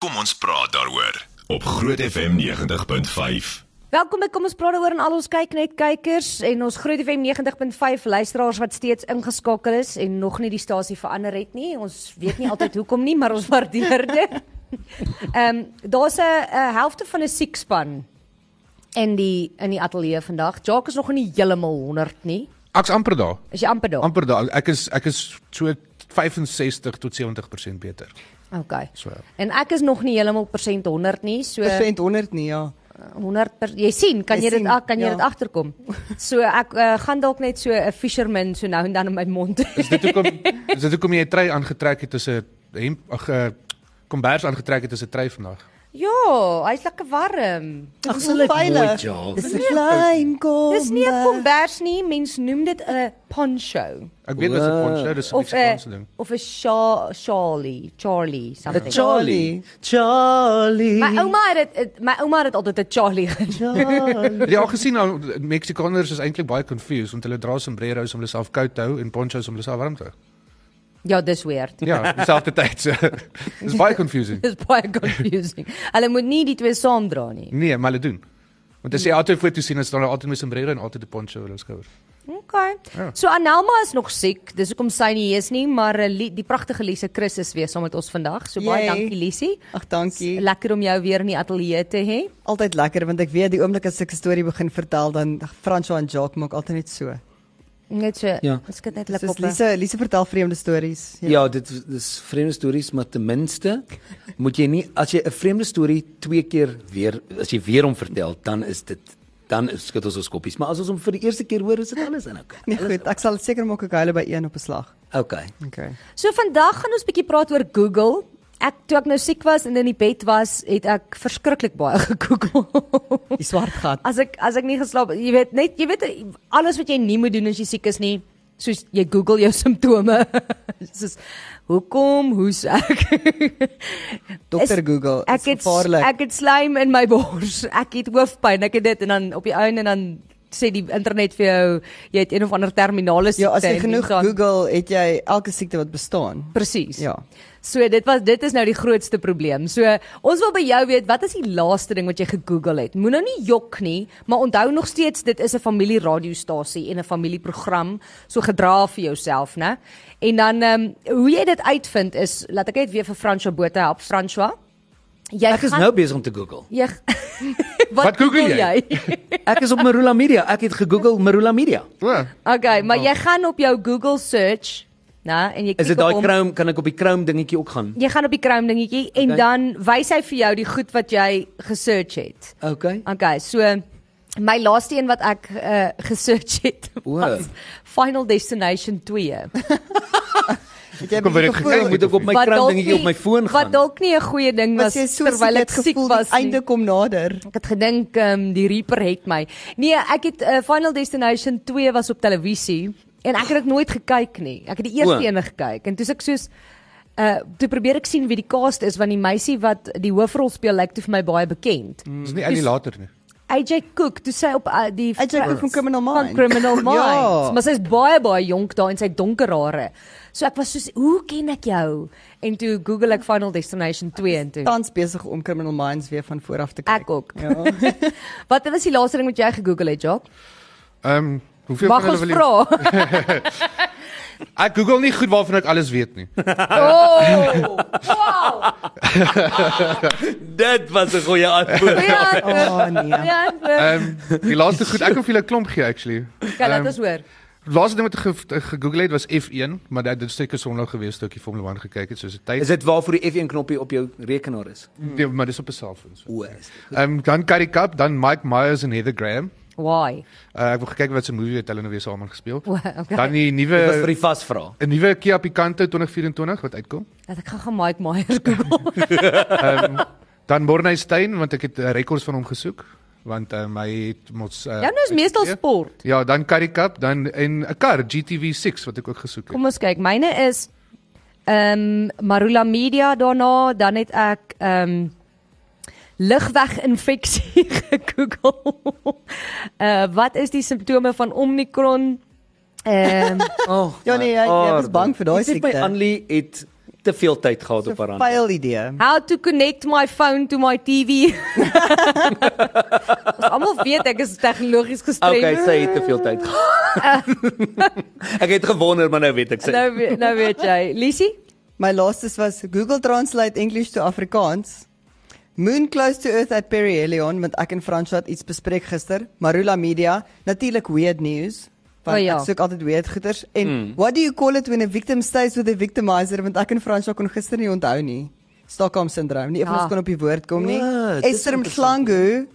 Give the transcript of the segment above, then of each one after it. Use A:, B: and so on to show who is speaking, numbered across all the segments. A: Kom ons praat daaroor op Groot FM 90.5.
B: Welkom by Kom ons praat daaroor en al ons kyk net kykers en ons Groot FM 90.5 luisteraars wat steeds ingeskakel is en nog nie die stasie verander het nie. Ons weet nie altyd hoekom nie, maar ons waardeer dit. Ehm daar's 'n 'n helfte van 'n siekspan in die in die ateljee vandag. Jacques is nog nie heeltemal 100 nie.
C: Ek's amper daar.
B: Is jy amper daar?
C: Amper daar. Ek is ek is so 65 tot 70% beter.
B: Okay.
C: So.
B: En ek is nog nie heeltemal persent 100 nie, so
D: persent 100 nie, ja.
B: 100 per, jy sien, kan
D: Jy
B: jy dit
D: sien,
B: ah, kan jy
D: ja.
B: dit agterkom. So ek uh, gaan dalk net so 'n fisherman so nou en dan in my mond.
C: Is dit hoekom is dit hoekom jy 'n trui aangetrek het as 'n hemp ag 'n kombers aangetrek het as 'n trui vandag?
B: ja, hy's lekker warm.
D: Ag, so veilig. Dis 'n klein kom.
B: Dis nie 'n kombers nie, mens noem dit 'n poncho
C: Ek weet wat 'n poncho dis 'n
B: of eh, 'n
C: Meksikaanse ding.
B: of 'n sha- Charlie, Charlie something.
D: Charlie. Charlie.
B: My ouma het dit het- my ouma het dit altyd 'n Charlie genoem.
D: Charlie.
C: Het Jy al gesien nou Meksikaners is eintlik baie confused want hulle dra sombreros om hulle self koud te hou en ponchos om hulle self warm te hou.
B: Ja, dis weird.
C: Ja, dieselfde tyd. So. Dis baie confusing.
B: Dis baie confusing. Hulle moet nie die twee saam dra nie.
C: Nee, maar hulle doen. Want as jy altyd foto's sien, dan staan hulle altyd met 'n sombrero en altyd 'n poncho oor hulle skouers.
B: Okay.
C: Ja.
B: So Anelma is nog siek, dis hoekom sy nie hier is nie, maar eh, Lie- die pragtige Lise Chris is weer saam met ons vandag. So baie
D: Yay.
B: dankie Lisie.
D: Ag, dankie.
B: Lekker om jou weer in die ateljee te hê.
D: Altyd lekker want ek weet die oomblik as ek 'n storie begin vertel dan Franco en Jacques maak altyd net so.
B: Net so.
E: Ja.
B: Ons kan net lekker
D: Dis
B: op. eh, Lise...
D: Lise, Lise vertel vreemde stories.
E: Ja, dit dis vreemde stories, maar ten minste moet jy nie as jy 'n vreemde storie twee keer weer as jy weer hom vertel, dan is dit dan is- skud ons ons koppies. Maar as ons hom vir die eerste keer hoor, is dit alles in elkaar.
D: Nee, goed, ek sal seker maak ek hou hulle by een op 'n slag.
E: Okay.
D: Okay.
B: So vandag gaan ons bietjie praat oor Google. Ek toe ek nou siek was en in die bed was, het ek verskriklik baie gegoogel.
D: Die swart gat.
B: as ek as ek nie geslaap, jy weet net jy weet alles wat jy nie moet doen as jy siek is nie, soos jy Google jou simptome. soos hoekom hoes ek?
D: Dokter
B: Is-
D: Google.
B: Ek
D: is
B: het
D: gevaarlik.
B: ek het slaim in my bors. Ek het hoofpyn, ek het dit en dan op die einde en dan sê die internet vir jou jy het een of ander terminale
D: Ja, as
B: siekte
D: jy
B: en
D: genoeg
B: dan-
D: Google, het jy elke siekte wat bestaan.
B: Presies.
D: Ja.
B: So dit was dit is nou die grootste probleem. So ons wil by jou weet, wat is die laaste ding wat jy gegoogel het? Moenie nou nie jok nie, maar onthou nog steeds dit is 'n familieradiostasie en 'n familieprogram, so gedra vir jouself, né? En dan ehm um, hoe jy dit uitvind is, laat ek net weer vir François Botha help, François. Jy
E: Ek is
B: gaan-
E: nou besig om te Google.
B: jy Wat,
C: Wat Google jy?
E: Ek is op Marula Media. Ek het gegoogel Marula Media.
C: Ja.
B: okay, maar jy gaan op jou Google search, né, en jy
E: Is
B: klik
E: dit
B: op
E: daai
B: hom.
E: Chrome kan ek op die Chrome dingetjie ook gaan?
B: Jy gaan op die Chrome dingetjie en
E: Okay.
B: dan wys hy vir jou die goed wat jy gesearch het.
E: Okay.
B: Okay, so my laaste een wat ek uh, gesearch het
E: O.
B: was Final Destination 2.
D: Het jy
C: Kom, word ek
E: Ek moet ook op my
B: Wat
E: Chrome
B: dalk
E: dingetjie op
B: nie-
E: my foon
B: Wat
E: gaan.
B: dalk nie 'n goeie ding was
D: was jy so
B: terwyl ek siek
D: gevoel
B: was
D: die
B: nie.
D: einde kom nader?
B: Ek het gedink um, die Reaper het my. Nee, ek het uh, Final Destination 2 was op televisie en ek het dit nooit gekyk nie. Ek het die eerste
E: O.
B: een gekyk en toe is ek soos uh toe probeer ek sien wie die cast is want die meisie wat die hoofrol speel lyk toe vir my baie bekend.
C: Dis nie al die later nie.
B: AJ Cook, toe sy op uh, die
D: AJ Cook van Criminal
B: Van
D: Minds.
B: Criminal Minds. ja.
D: Ja.
B: Maar sy's baie baie jonk daar en sy het donker hare. So ek was soos, "Hoe ken ek jou?" En toe Google ek Final Destination 2 en toe.
D: Tans besig om Criminal Minds weer van voor af te kyk.
B: Ek ook.
D: Ja.
B: Wat was die laaste ding wat jy gegoogel het, Jock?
C: Ehm um, hoeveel
B: Mag
C: van
B: ons
C: hulle wil jy?
B: vra?
C: Ek Google nie goed waarvan ek alles weet nie.
B: Oh! Wow!
E: Dit was 'n goeie antwoord.
B: Ja.
D: Oh, nee.
B: Ja.
C: Ehm um, die laaste goed, ek kan vir julle 'n klomp gee actually.
B: Kan laat
C: ehm,
B: ons hoor.
C: Laaste ding wat ek ge- eh, gegoogel het was F1, maar dit dit seker Sondag gewees toe ek die Formule 1 gekyk het soos 'n tyd.
E: Is dit waarvoor die F1 knoppie op jou rekenaar is?
C: nee, maar dis op 'n selfoon so.
E: O, is dit.
C: Ehm um, dan Currie Cup, dan Mike Myers en Heather Graham.
B: Why?
C: Uh, ek wil gekyk wat se movie het hulle nou weer saam gespeel.
B: O, okay.
C: Dan die
E: Dit was vir
C: nuwe
E: die vasvra.
C: 'n nuwe Kia Picanto 2024 wat uitkom.
B: Dat ek gaan gaan Mike Myers
C: Ja.
B: Google.
C: Dan Morney Stein want ek het uh, rekords van hom gesoek want uh, my het mos
B: Jou
C: uh,
B: nou is meestal
C: uitgegee.
B: sport.
C: Ja, dan Currie Cup, dan en 'n kar GTV6 wat ek ook gesoek het.
B: Kom ons kyk. Myne is ehm Marula Media daarna, dan het ek ehm ligweg infeksie gegoogel. uh wat is die simptome van Omicron? Ehm
E: Oh,
D: Ja, nee,
E: my
D: jy- jy nee, was
E: aarde.
D: bang vir daai
E: Jy sê My
D: siekte.
E: Anlie het te veel tyd gehad op haar
D: Een
E: hand.
D: vuil idee.
B: How to connect my phone to my TV. Ons almal weet ek is tegnologies gestrem.
E: Okay, sy het te veel tyd gehad. ek het gewonder, maar nou weet ek sy.
B: nou weet- nou weet jy. Lisie?
D: My laastes was Google Translate English to Afrikaans. Moon close to earth at Perry Helion met ek en Franswat iets bespreek gister. Marula Media, natuurlik weird news. Want
B: O, ja.
D: ek soek altyd weird goeters en
E: Hmm.
D: mm. what do you call it when a victim stays with a victimizer want ek en Franswat kon gister nie onthou nie. Stockholm syndroom. Nie
B: Ah.
D: eers kon op die woord kom nie.
E: Wat, dis
D: Esther Mhlangu.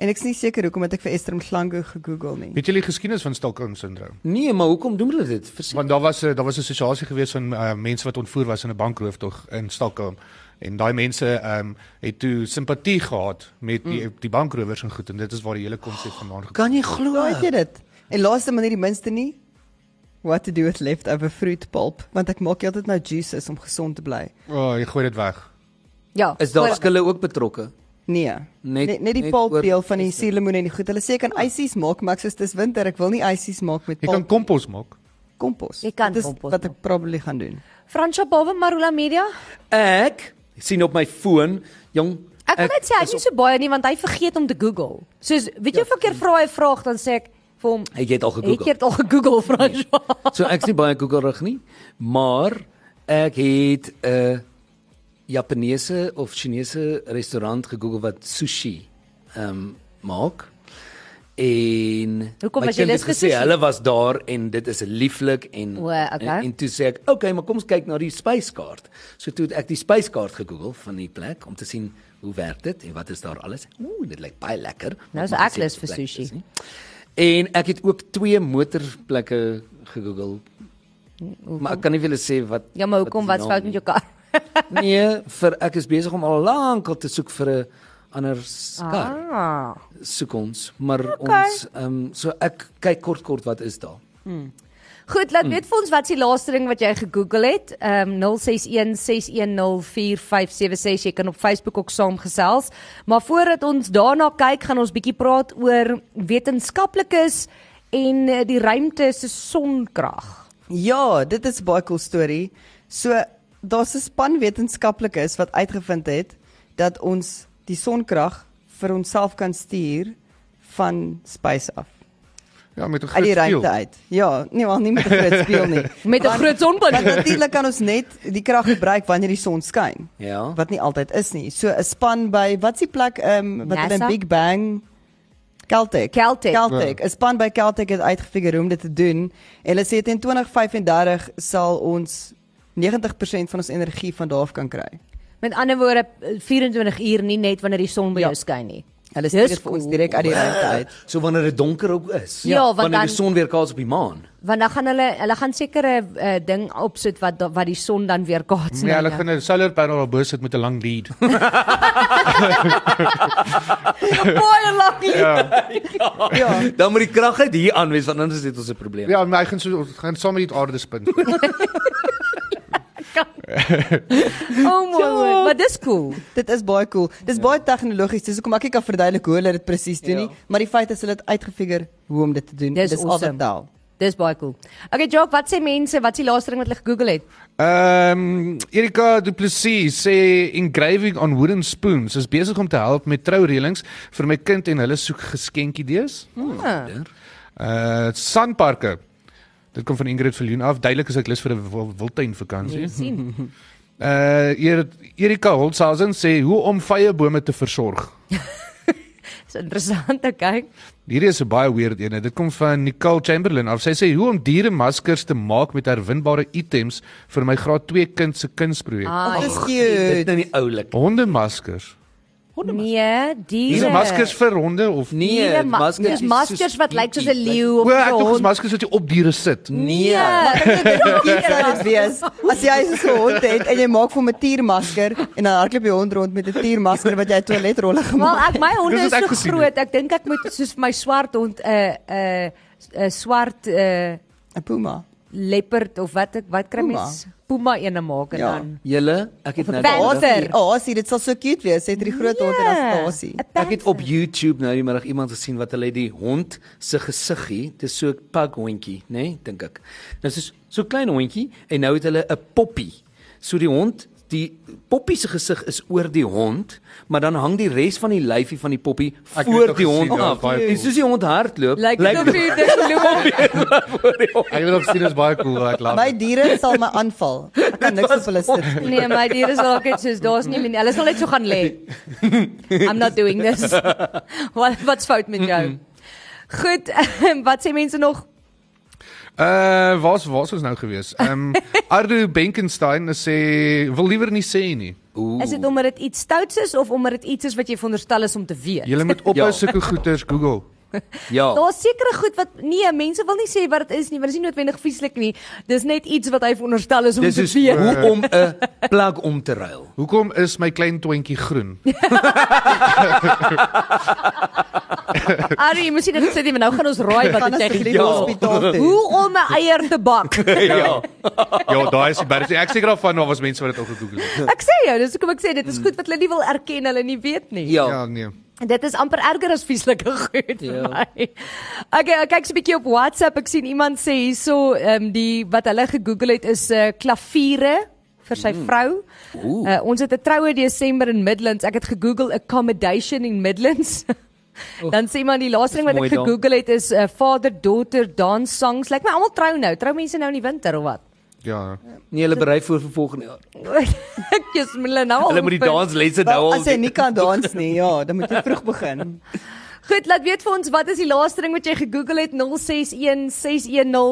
D: En ek's nie seker hoekom het ek vir Esther Mhlangu gegoogel nie.
C: Weet julle die geskiedenis van Stockholm syndroom?
E: Nee, maar hoekom doen hulle dit? Verseker.
C: Want daar was 'n daar was 'n assosiasie gewees van uh, mense wat ontvoer was in 'n bankroof tog in Stockholm. En daai mense ehm um, het toe simpatie gehad met die mm. die bankrowers en goed en dit is waar die hele konsep vandaan gekom.
E: Kan jy glo?
D: Ja, ek weet dit. En laaste maar nie die minste nie. What to do with leftover fruit pulp, want ek maak altyd nou juices om gesond te bly.
C: O, oh, jy gooi dit weg.
B: Ja.
E: Is daar
B: voor-
E: skille ook betrokke?
D: Nee.
E: Net-
D: Net net, net die
E: net
D: pulp
E: oor-
D: deel van die suurlemoen en die goed. Hulle sê ek kan ysies maak, maar ek sê dis winter, ek wil nie ysies maak met
C: Jy kan
D: pulp
C: kompos maak.
D: kompos.
B: Jy kan
D: Dit is
B: kompos
D: wat ek probably gaan doen.
B: Fransja Bawe Marula Media.
E: Ek sien op my foon, jong,
B: Ek wil net sê hy
E: is
B: het
E: Ja.
B: nie so baie nie want hy vergeet om te Google. Soos weet jy of ek keer vra hy 'n vraag dan sê ek vir hom
E: Het jy dit al Nee. gegoogel?"
B: Het jy dit al gegoogel Fransja?
E: So ek's nie baie Googlerig nie, maar ek het 'n Japaneese of Chinese restaurant gegoogel wat sushi ehm um, maak. En
B: Hoekom
E: my
B: was jy
E: kind
B: lus
E: het
B: vir
E: gesê
B: sushi?
E: hulle was daar en dit is lieflik en
B: O, okay.
E: en, en toe sê ek, "Oké, okay, maar kom ons kyk na die spyskaart." So toe het ek die spyskaart gegoogel van die plek om te sien hoe werk dit en wat is daar alles. Ooh, dit lyk baie lekker.
B: Nou is
E: Maar
B: ek
E: gesê,
B: lus vir
E: plek is
B: sushi.
E: nie. En ek het ook twee motorplekke gegoogel Maar ek kan nie vir julle sê wat
B: Ja, maar hoekom wat's fout met jou kar?
E: jou Nee, vir ek is besig om al lank al te soek vir 'n ander s- kar.
B: Ah.
E: Soek ons, maar ons ehm so ek kyk kort kort wat is daar.
B: Goed,
D: Mm.
B: laat weet vir ons wat is die laaste ding wat jy gegoogel het. Ehm um, 0616104576. Jy kan op Facebook ook saamgesels. Maar voordat ons daarna kyk, gaan ons bietjie praat oor wetenskaplikes en eh, die ruimte se sonkrag.
D: Ja, dit is 'n baie cool storie. So daar's 'n span wetenskaplikes wat uitgevind het dat ons die sonkrag vir onsself kan stuur van space af.
C: Ja, met 'n
D: uit
C: groot
D: die
C: spieël.
D: ruimte uit. Ja, nee, maar nie met 'n groot speel nie.
B: Met 'n
D: Want-
B: groot sonpaneel.
D: Want natuurlik kan ons net die krag gebruik wanneer die son skyn.
E: Ja.
D: Wat nie altyd is nie. So 'n span by wat's die plek ehm um, wat hulle in
B: NASA?
D: Big Bang Caltech.
B: Caltech. Ja.
D: Caltech. 'n Span by Caltech het uitgefigure hoe om dit te doen. En hulle sê teen 2035 sal ons 90% van ons energie van daar af kan kry.
B: Met ander woorde 24 uur nie net wanneer die son by
D: Ja.
B: jou skyn nie.
D: Hulle
B: Dis
D: stuur dit vir ons
B: cool.
D: direk uit die ruimte uit.
E: So wanneer dit donker ook is,
B: Ja, want
E: wanneer die
B: dan-
E: son weer kaats op die maan.
B: Want dan gaan hulle hulle gaan sekere uh, ding opsit wat da- wat die son dan weer kaats
C: Nee,
B: na
C: hulle
B: jou.
C: gaan 'n solar panel op bo sit met 'n lang lead.
B: baie lucky.
E: Ja. dan moet die krag uit hier aan wees want anders is dit ons 'n probleem.
C: ja, maar hy gaan so gaan saam met die aarde spin.
B: Oh my god, maar dis cool.
D: Dit is baie cool. Dis ja. baie tegnologies. Dis hoekom ek nie kan verduidelik hoe hulle dit presies doen ja. nie, maar die feit is hulle het uitgefigure hoe om dit te doen.
B: Dis
D: Dis al
B: awesome.
D: wat tel.
B: Dis baie cool. Okay, Jock, wat sê mense, wat is die laaste ding wat hulle gegoogel het?
C: Ehm um, Erika Du Plessis sê engraving on wooden spoons is besig om te help met troureëlings vir my kind en hulle soek geskenkidees.
B: Hmm.
C: Uh sandparke. Dit kom van Ingrid Viljoen af. Duidelik is ek lus vir 'n wil- wildtuin
B: Jy
C: vakansie.
B: sien.
C: Uh Er- Erika Holzhausen sê hoe om vrye bome te versorg.
B: Dis interessant, okay.
C: Hierdie is 'n baie weird een. Dit kom van Nicole Chamberlain af. Sy sê hoe om dieremaskers te maak met herwinbare items vir my graad 2 kind se kunsprojek. Ah.
D: Ag,
B: Ah,
D: dis cute.
E: Dit nou nie oulik.
C: Hondemaskers.
B: nee, diere.
C: Dieremaskers vir honde of
E: Nee,
B: ma- Dis
E: maskers.
B: maskers wat lyk soos 'n leeu
C: O,
B: of
C: ek dink ons
B: 'n hond. Ja,
C: maskers wat jy op diere sit.
E: Nee.
D: Dit sal dit wees. As jy so 'n hond het en jy maak vir 'n tiermasker en dan hardloop jy hond rond met 'n tiermasker wat jy uit toiletrolle
B: Wel,
D: gemaak het.
B: ek my honde
C: Dis
B: is
C: wat ek
B: so
C: gesien
B: groot. Ek dink ek moet soos my swart hond 'n 'n 'n swart 'n
D: 'n Puma.
B: leopard of wat ek wat kry
D: Puma.
B: mens puma ene maak en
D: Ja.
B: dan
E: Julle, ek
B: Of
E: het
B: 'n
E: nou
B: panda.
E: dadig-
B: Water.
D: Hasie. Oh, hasie, dit sal so cute wees. Jy het die groot hond en dan
B: Ja,
D: 'n hasie.
B: 'n
E: Ek het op
B: panther.
E: YouTube nou die middag iemand gesien wat hulle die hond se gesiggie, dis so 'n pug hondjie, nê, nee, dink ek. Nou soos so 'n klein hondjie en nou het hulle 'n poppie So die hond, die poppie se gesig is oor die hond, maar dan hang die res van die lyfie van die poppie
C: het
E: voor
C: ook
E: die
C: gesien,
E: hond
C: ja,
E: af.
C: baie cool.
E: En soos die hond hardloop,
B: Lyk dit of jy dit loop.
C: Ek wil op sien is baie cool, ek lag.
D: My diere sal my aanval. Ek kan niks op hulle sit nie.
B: Nee, my diere sal ook net soos daar's nie min. Hulle sal net so gaan lê. I'm not doing this. Wat wat's fout met jou? Goed, ehm, wat sê mense nog?
C: Uh, waar's waar's ons nou gewees? Ehm um, Ardu Benkenstein sê wil liewer nie sê nie.
B: Is dit omdat dit iets stouts is of omdat dit iets is wat jy veronderstel is om te weet?
C: Jy moet op
E: Ja.
C: ja. sulke goeters Google.
E: Ja.
B: Daar's sekere goed wat nee, mense wil nie sê wat dit is nie, want dit is nie noodwendig vieslik nie. Dis net iets wat hy veronderstel is om
E: Dis
B: te
E: is
B: weet.
E: hoe om 'n plug om te ruil.
C: Hoekom is my klein twintjie groen?
B: Ari, jy moet sien dit sê jy nou gaan ons raai wat
D: Gaan
B: dit sê.
D: asseblief
E: Ja.
D: ja. hospitaal toe.
B: Hoe om 'n eier te bak.
E: Ja.
C: ja, daai is die baie. Ek seker daarvan daar was mense wat dit al gegoogel het.
B: Ek sê jou, dis hoekom ek sê dit is goed wat hulle nie wil erken hulle nie weet nie.
E: Ja.
C: Ja, nee.
B: Dit is amper erger as vieslike goed vir
E: Ja.
B: my. Okay, ek kyk so 'n bietjie op WhatsApp. Ek sien iemand sê hierso ehm um, die wat hulle gegoogel het is 'n uh, klaviere vir sy mm. vrou.
E: Ooh.
B: Uh, ons het 'n troue Desember in Midlands. Ek het gegoogel accommodation in Midlands. Dan sê man die laaste ding wat
E: mooi
B: ek
E: daar.
B: gegoogel het is uh, father-daughter dance songs. Lyk my almal trou nou. Trou mense nou in die winter of wat?
C: Ja.
E: Nee, hulle berei voor vir volgende jaar.
B: Ek jy's hulle nou al.
E: Hulle moet die
B: oefen.
E: danslesse nou
D: Wel,
E: al
D: as jy nie kan dans nie, ja, dan moet jy vroeg begin.
B: Goed, laat weet vir ons wat is die laaste ding wat jy gegoogel het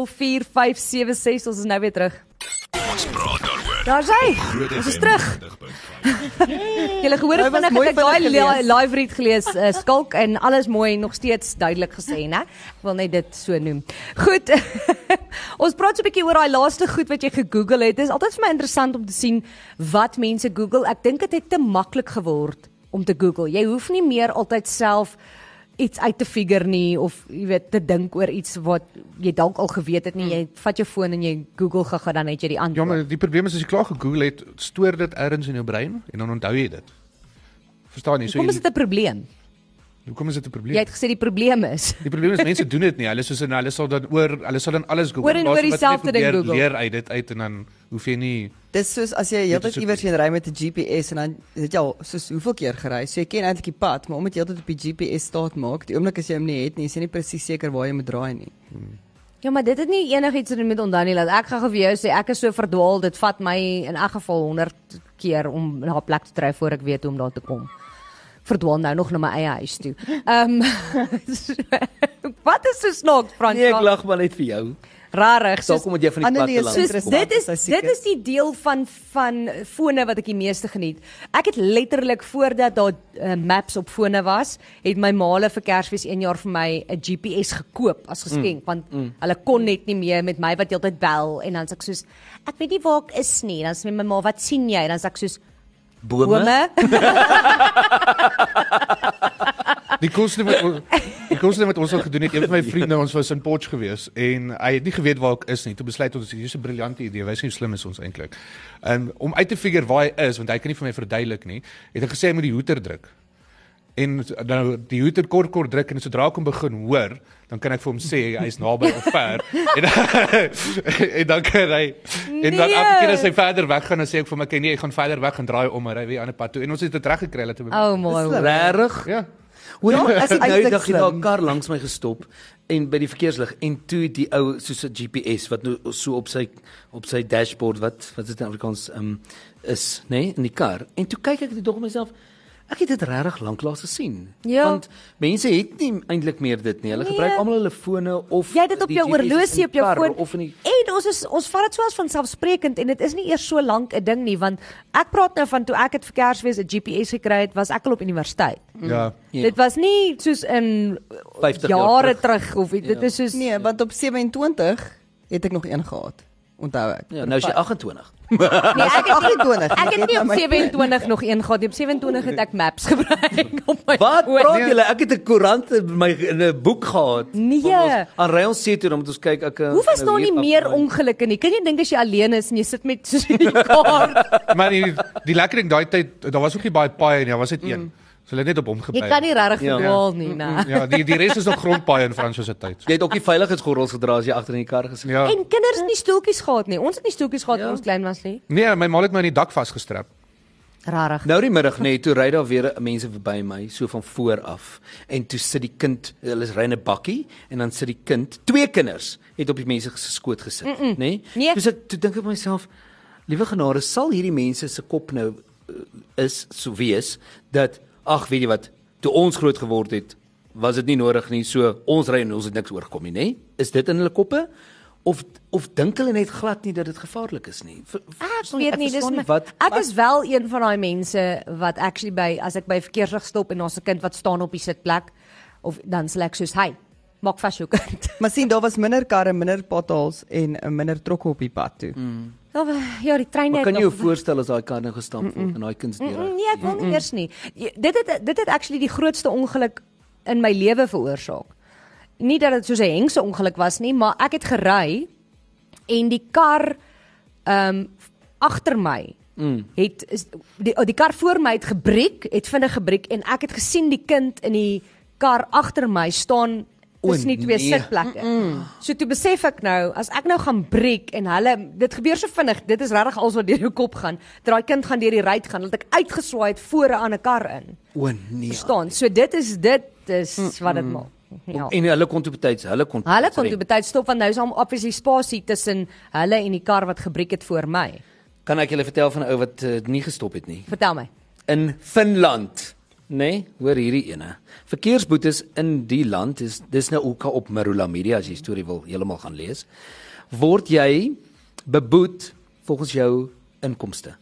B: 0616104576. Ons is nou weer terug.
A: Ons praat daaroor.
B: Daar's hy.
A: Groot
B: Ons is
A: FM
B: terug.
A: 90.5.
B: Jy het gehoor
D: Hy
B: hoe
D: was
B: vinnig
D: mooi
B: het ek daai
D: vinnig
B: li-
D: gelees.
B: live read gelees, uh, skalk en alles mooi nog steeds duidelik gesê, né? Ek wil net dit so noem. Goed. ons praat so 'n bietjie oor daai laaste goed wat jy gegoogel het. Dit is altyd vir my interessant om te sien wat mense Google. Ek dink dit het, te maklik geword om te Google. Jy hoef nie meer altyd self iets uit te figure nie of jy weet te dink oor iets wat jy dalk al geweet het
D: Hmm.
B: nie. Jy vat jou foon en jy Google gaga dan het jy die
C: Ja,
B: antwoord.
C: maar die probleem is as jy klaar gegoogel het, stoor dit ergens in jou brein en dan onthou jy dit. Verstaan jy? So
B: Kom is
C: jy,
B: dit 'n probleem?
C: hoekom is dit 'n probleem?
B: Jy het gesê die probleem is
C: Die probleem is mense doen dit nie. Hulle soos en hulle sal dan oor, hulle sal dan alles Google.
B: Oor en
C: Laat
B: oor
C: wat jy
B: dieselfde ding
C: probeer,
B: Google.
C: Leer uit dit uit en dan hoef jy nie
D: Dis soos as jy
C: Dit
D: heeltyd
C: is ook
D: iewers heen ry met 'n GPS en dan het jy al soos hoeveel keer gery. So jy ken eintlik die pad, maar omdat jy altyd op die GPS staat maak, die oomblik as jy hom nie het nie, is jy nie presies seker waar jy moet draai nie.
B: Ja, maar dit het nie enigiets te doen met onthou nie. Laat ek gaan vir jou sê ek is so verdwaal, dit vat my in elk geval 100 keer om na 'n plek te tref voor ek weet hoe om daar te kom. Verdwaal nou nog na my eie huis toe. Ehm so, Wat is so snaaks, Frans?
E: Nee, ek lag maar net vir jou.
B: Rarig.
E: Dalk
B: Soos,
E: kom dit jy van die
D: Annelie is
E: platteland.
B: soos
D: interessant,
B: dit is
D: sy seker.
B: dit is die deel van van fone wat ek die meeste geniet. Ek het letterlik voordat daar uh, maps op fone was, het my maale vir Kersfees 1 jaar vir my 'n GPS gekoop as geskenk mm, want mm. hulle kon net nie meer met my wat heeltyd bel en dan's ek soos ek weet nie waar ek is nie. Dan sê my ma, "Wat sien jy?" Dan sê ek soos,
E: bome.
B: "Ouma,
C: Die koste wat ons- die koste wat ons al gedoen het, een van my vriende ons was in Potch gewees en hy het nie geweet waar ek is nie. Toe besluit ons hier's 'n briljante idee. Wys nie hoe slim is ons eintlik. Um om uit te figure waar hy is want hy kan nie vir my verduidelik nie. Het hy gesê hy moet die hoeter druk. En nou die hoeter kort kort druk en sodra ek hom begin hoor, dan kan ek vir hom sê hy's naby of ver. en en dan kan hy en dan
B: Nee.
C: elke keer as hy verder weggaan dan sê ek vir hom ek nee, ek gaan verder weg en draai om en ry weer aan 'n pad toe. En ons het dit reg gekry dat hy
B: oh my word."
E: Regtig?
C: Ja.
E: Hoor ja,
D: Ja,
E: ek het
D: is
E: nou
D: eintlik
E: dag daar 'n
D: slim.
E: kar langs my gestop en by die verkeerslig en toe die ou soos 'n GPS wat nou so op sy op sy dashboard wat wat is dit in Afrikaans um is, nê, nee, in die kar. En toe kyk ek dit dog myself Ek het dit regtig lanklaas gesien.
B: Ja.
E: Want mense het nie eintlik meer dit nie. Hulle
B: Nee.
E: gebruik almal hulle fone of
B: Jy het dit op
E: die
B: jou
E: GPS in
B: oorlosie op jou
E: karre
B: foon.
E: of in die
B: En ons is ons vat dit soos van selfsprekend en dit is nie eers so lank 'n ding nie want ek praat nou van toe ek het vir Kersfees 'n GPS gekry het, was ek al op universiteit.
C: Ja.
E: Ja.
B: Dit was nie soos in
E: 50 jaar
B: jare
E: terug.
B: terug of iets. dit
E: Ja.
B: is soos
D: Nee, want op 27 het ek nog een gehad. Onthou ek.
E: Ja, nou is jy 28.
B: nee, ek het nie-
D: 28.
B: Ek het nie
D: nou
B: op
D: my-
B: 27 nog een gehad nie. Op 27 het ek maps gebruik op my
E: Wat
B: foon.
E: praat julle? Ek het 'n koerant in my in 'n boek gehad.
B: Nee.
E: Van ons- Aan ry ons sê toe dan moet ons kyk ek eh, nou
B: Hoe was daar nie meer ongelukke nie? Kan jy dink as jy alleen is en jy sit met so 'n kaart?
C: Maar die, die lekker ding daai tyd, daar was ook nie baie paai nie, daar was net een. So hulle het net op hom
B: Mm. Jy
C: gebly.
B: kan nie regtig
E: Ja.
B: verdwaal nie, nee. né?
C: Ja, die die res is nog grondpaaie in Fransjo se tyd.
E: Jy het ook die veiligheidsgordels gedra as jy agter in die kar gesit
C: Ja.
B: En kinders het nie stoeltjies gehad nie. Ons het nie stoeltjies gehad
E: Ja.
B: toe ons klein was nie.
C: Nee, my ma het my in die dak vasgestrap.
B: Regtig.
E: Nou die middag nê, nee, toe ry daar weer mense verby my, so van voor af. En toe sit die kind, hulle is ry in 'n bakkie en dan sit die kind, twee kinders, het op die mense se skoot gesit, nê? Mm -mm. nee?
B: Nee.
E: Toe sit toe dink ek by myself, liewe genade, sal hierdie mense se kop nou eh, is so wees dat ag, weet jy wat, toe ons groot geword het, was dit nie nodig nie. So ons ry en ons het niks oorgekom nie, nê? Nee? Is dit in hulle koppe? Of of dink hulle net glad nie dat dit gevaarlik is nie? Ver,
B: Ah, Ek
E: verstaan jy?
B: weet nie, dis
E: verstaan
B: my,
E: wat
B: ek is wel een van daai mense wat actually by as ek by verkeerslig stop en daar's 'n kind wat staan op die sitplek of dan sal ek soos hy maak vas jou kind.
D: Maar sien, daar was minder karre, minder potholes en eh, minder trokke op die pad toe. Mm.
B: Ja, ja die trein
E: Maar
B: het
E: kan jy jou
B: nog-
E: voorstel as daai kar nou gestamp word en daai
B: Mm,
E: kunstdeure?
B: Nee, ek wil nie eers nie. Jy- Dit het dit het actually die grootste ongeluk in my lewe veroorsaak. Nie dat dit soos 'n hengse ongeluk was nie, maar ek het gery en die kar ehm um, agter my Mm. het is, die oh, die kar voor my het gebreek, het vinnig gebreek en ek het gesien die kind in die kar agter my staan
E: O,
B: tussen die twee
E: nee.
B: sitplekke. So toe besef ek nou, as ek nou gaan breek en hulle dit gebeur so vinnig, dit is regtig alles wat deur jou kop gaan. Dat daai kind gaan deur die ruit gaan, dat ek uitgeswaai het voor 'n ander kar in.
E: O nee.
B: Verstaan? So dit is dit is wat dit maak. Ja.
E: Mm. En hulle kon toe betyds, hulle kon
B: Hulle kon
E: sorry.
B: toe betyds stop want nou is hom obviously spasie tussen hulle en die kar wat gebreek het voor my.
E: Kan ek julle vertel van 'n ou wat uh, nie gestop het nie?
B: Vertel my.
E: in Finland. Nee, hoor hierdie ene. Verkeersboetes in die land is dis nou ook op Marula Media as jy die storie wil heeltemal gaan lees. Word jy beboet volgens jou inkomste?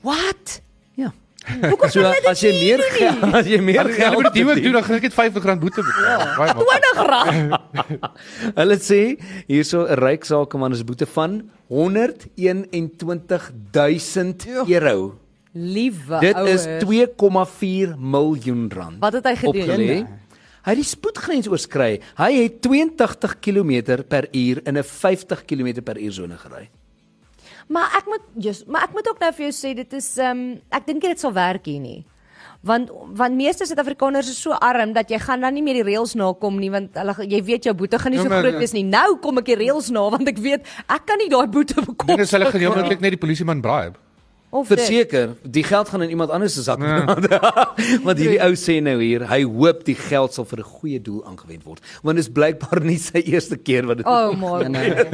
B: Wat?
E: Ja. Hoekom so, as jy meer geld, as jy meer
C: Hulle
E: geld
C: moet dit ook doen, dan gaan ek net R50 boete
B: Ja.
C: betaal. Baie maak.
B: 20 rand.
E: Hulle sê hierso 'n ryk sakeman is boete van 121000 euro.
B: Liewe
E: Dit
B: ouers.
E: is 2,4 miljoen rand.
B: Wat het hy gedoen?
E: Opgelê. Hy het die spoedgrens oorskry. Hy het 82 km per uur in 'n 50 km per uur sone gery.
B: Maar ek moet jy's, maar ek moet ook nou vir jou sê dit is ehm um, ek dink nie dit sal werk hier nie. Want want meeste Suid-Afrikaners is so arm dat jy gaan dan nie meer die reëls nakom nie want hulle jy weet jou boete gaan nie
C: Ja,
B: so
C: maar-
B: groot wees nie. Nou kom ek die reëls na want ek weet ek kan nie daai boete
C: Dink as
B: bekom.
C: hulle gaan jou moontlik net die polisieman bribe.
B: Of dit-
E: Verseker, die geld gaan in iemand anders se sak beland.
B: Nee.
E: Want hierdie ou sê nou hier, hy hoop die geld sal vir 'n goeie doel aangewend word, want dit is blykbaar nie sy eerste keer wat dit
B: Oh my
E: nee.
B: god.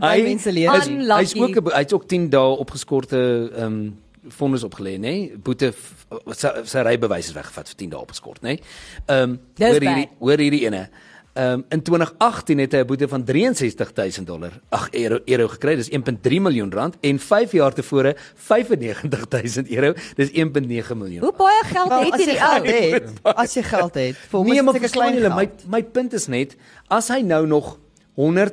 D: Party mense leer
E: is-
B: nie.
E: Hy's
B: Unlucky.
E: ook gebo- hy's ook 10 dae opgeskorte ehm um, vonnis opgelê, nê? Nee? Boete f- sy, sy rybewys is weggevat vir 10 dae opgeskort, nê? Nee? Ehm um,
B: Dis
E: hoor
B: bad.
E: hierdie hoor hierdie ene. Ehm um, in 2018 het hy 'n boete van 63000 dollar, ag euro euro gekry, dis 1.3 miljoen rand en 5 jaar tevore 95000 euro, dis 1.9 miljoen.
B: Hoe baie geld
D: Wel,
B: het
D: as jy
B: hierdie
D: geld
B: ou?
D: het, as jy geld het, vir hom
E: Nee, maar
D: is dit 'n
E: verstaan
D: klein
E: julle,
D: geld.
E: my my punt is net as hy nou nog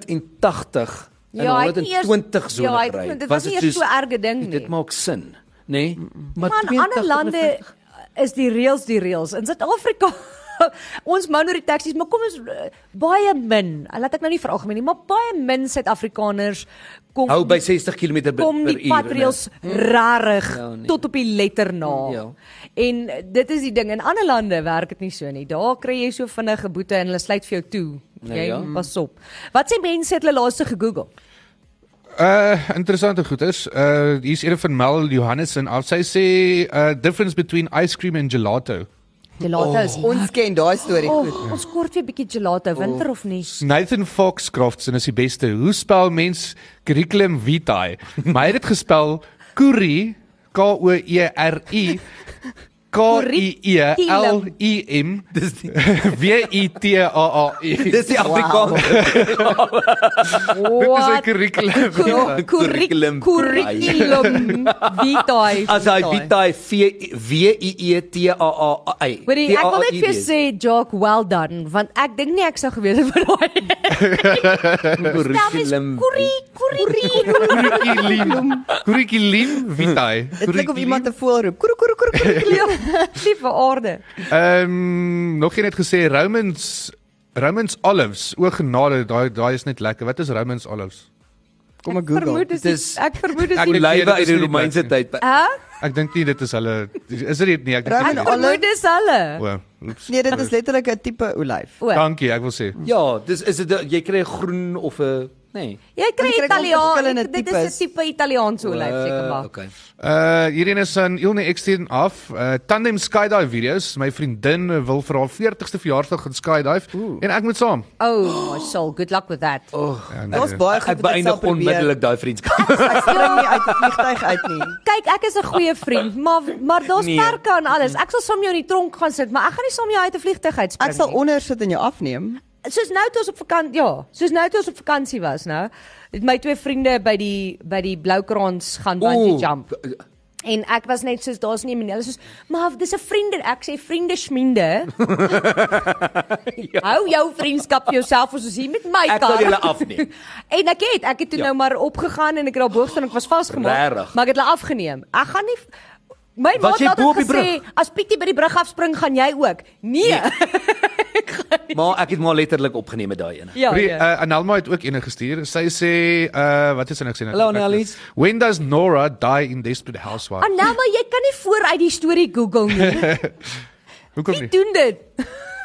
E: 180 en
B: Ja, hy het nie eers-
E: 120 sou
B: ja, hy het-
E: ry.
B: dit was nie eers so erge ding nie. Mm,
E: Dit maak sin, nê? Nee?
B: Maar in ander
E: 82
B: lande
E: en 50
B: is die reëls die reëls. In Suid-Afrika ons mou nou die taksies, maar kom ons eh, baie min. Laat ek nou nie veralgemeen nie, maar baie min Suid-Afrikaners kom
E: hou by 60 km per per uur. Hm?
B: kom die padreëls rarig
E: Ja, nee.
B: tot op die letter na.
E: Ja.
B: En dit is die ding in ander lande werk dit nie so nie. Daar kry jy so vinnige boete en hulle sluit vir jou toe.
E: Ja,
B: Jy ja,
E: ja.
B: ja. pas op. Wat sê mense het hulle laaste gegoogel?
C: Uh interessante goed is. Uh hier's een van Mel Johannessen af. Sy sê uh difference between ice cream and gelato.
B: Gelato oh, is
D: Ons ken daai storie
B: Oh,
D: goed.
B: ons kort weer bietjie
E: Oh.
B: gelato winter of nie.
C: Nathan Foxcroft en is die beste. Hoe spel mens curriculum vitae? Maar hy het dit gespel curry K O E R I K I E L I M
E: Dis die,
C: W I T A A E.
E: dis die Afrikaans.
C: Dit is
B: Wat
C: 'n curriculum.
B: Kur-
E: Curriculum
B: kurri- Curriculum vitae.
E: As hy Vitae V W I E T A A I.
B: Hoorie, ek wil net vir jou
E: T A A I
B: sê Jock, well done, want ek dink nie ek sou geweet het wat daai
E: curriculum.
B: kurri kurri.
C: Curriculum. Curriculum vitae.
D: Dit klink of iemand
C: Curriculum.
D: 'n voël roep. Kroek kroek kroek. kroek.
B: Liewe aarde.
C: Ehm um, nog een het gesê Romans Romans olives. O genade, daai daai is net lekker. Wat is Romans olives?
D: Kom ek
B: Vermoed
D: Google.
B: is die-
E: Dis-
B: ek vermoed is
E: Ek
B: die
C: weet-
E: lywe
C: dit is
E: uit die
C: nie die
E: Romeinse
C: plek
E: tyd.
B: Hæ?
C: Ek dink nie dit is hulle is dit nie nee, ek dink
D: Raymond,
C: nie.
B: Ek
D: alle-
B: vermoed dis hulle.
C: O, oeps.
D: Nee, dit is letterlik 'n tipe olyf.
B: O,
C: Dankie, ek wil sê.
E: Ja, dis is dit jy kry 'n groen of nee. 'n nê.
B: jy kry
D: jy kry dan verskillende
B: Italiaans. Dit is
D: tipes.
B: 'n tipe Italiaanse olyf seker maar.
E: Okay.
C: Uh hierdie is aan Ilne Exteen af. Uh tandem skydive video's. My vriendin wil vir haar 40ste verjaarsdag gaan skydive Ooh. en ek moet saam.
B: Oh, my soul, good luck with that.
C: Ja, nee,
D: Daar's baie goed
E: Ek
D: wat ek sal
E: beëindig
D: probeer.
E: onmiddellik daai
B: Oh
E: vriendskap.
D: Ek spring nie uit die vliegtyg uit nie.
B: Kyk, ek is 'n goeie vriend, maar maar daar's
E: Nee.
B: perke aan alles. Ek sal saam jou in die tronk gaan sit, maar ek gaan nie saam jou uit 'n vliegtyg uitspring
D: Ek sal
B: nie.
D: onder sit en jou afneem.
B: soos nou toe ons op vakansie ja, soos nou toe ons op vakansie was, nou, het my twee vriende by die by die Bloukrans gaan bungee jump. En ek was net soos daar's nie mense soos maar dis 'n vriende ek sê vriende sminde. ja. Hou jou vriendskap vir jouself as ons hier met my
E: Ek
B: kan.
E: sal julle afneem.
B: en ek het ek het toe
E: Ja.
B: ja. nou maar opgegaan en ek het daar boog staan ek was
E: Regtig?
B: vasgemaak, maar ek het hulle afgeneem. Ek gaan nie My
E: Was
B: maat
E: jy
B: het
E: bo op
B: altyd
E: die
B: gesê as Pietie by die brug afspring gaan jy ook. Nee. nee.
E: Maar ek het maar letterlik opgeneem met daai ene.
B: ja.
C: Pri,
E: eh,
B: ja.
C: uh, Analma het ook eene gestuur. Sy sê uh wat is sy nou gesê?
E: Hallo, Annelies.
C: When does Nora die in Desperate Housewives?
B: Ah, nou maar jy kan nie vooruit die storie Google nie.
C: Hoekom
B: Wie
C: nie?
B: doen dit?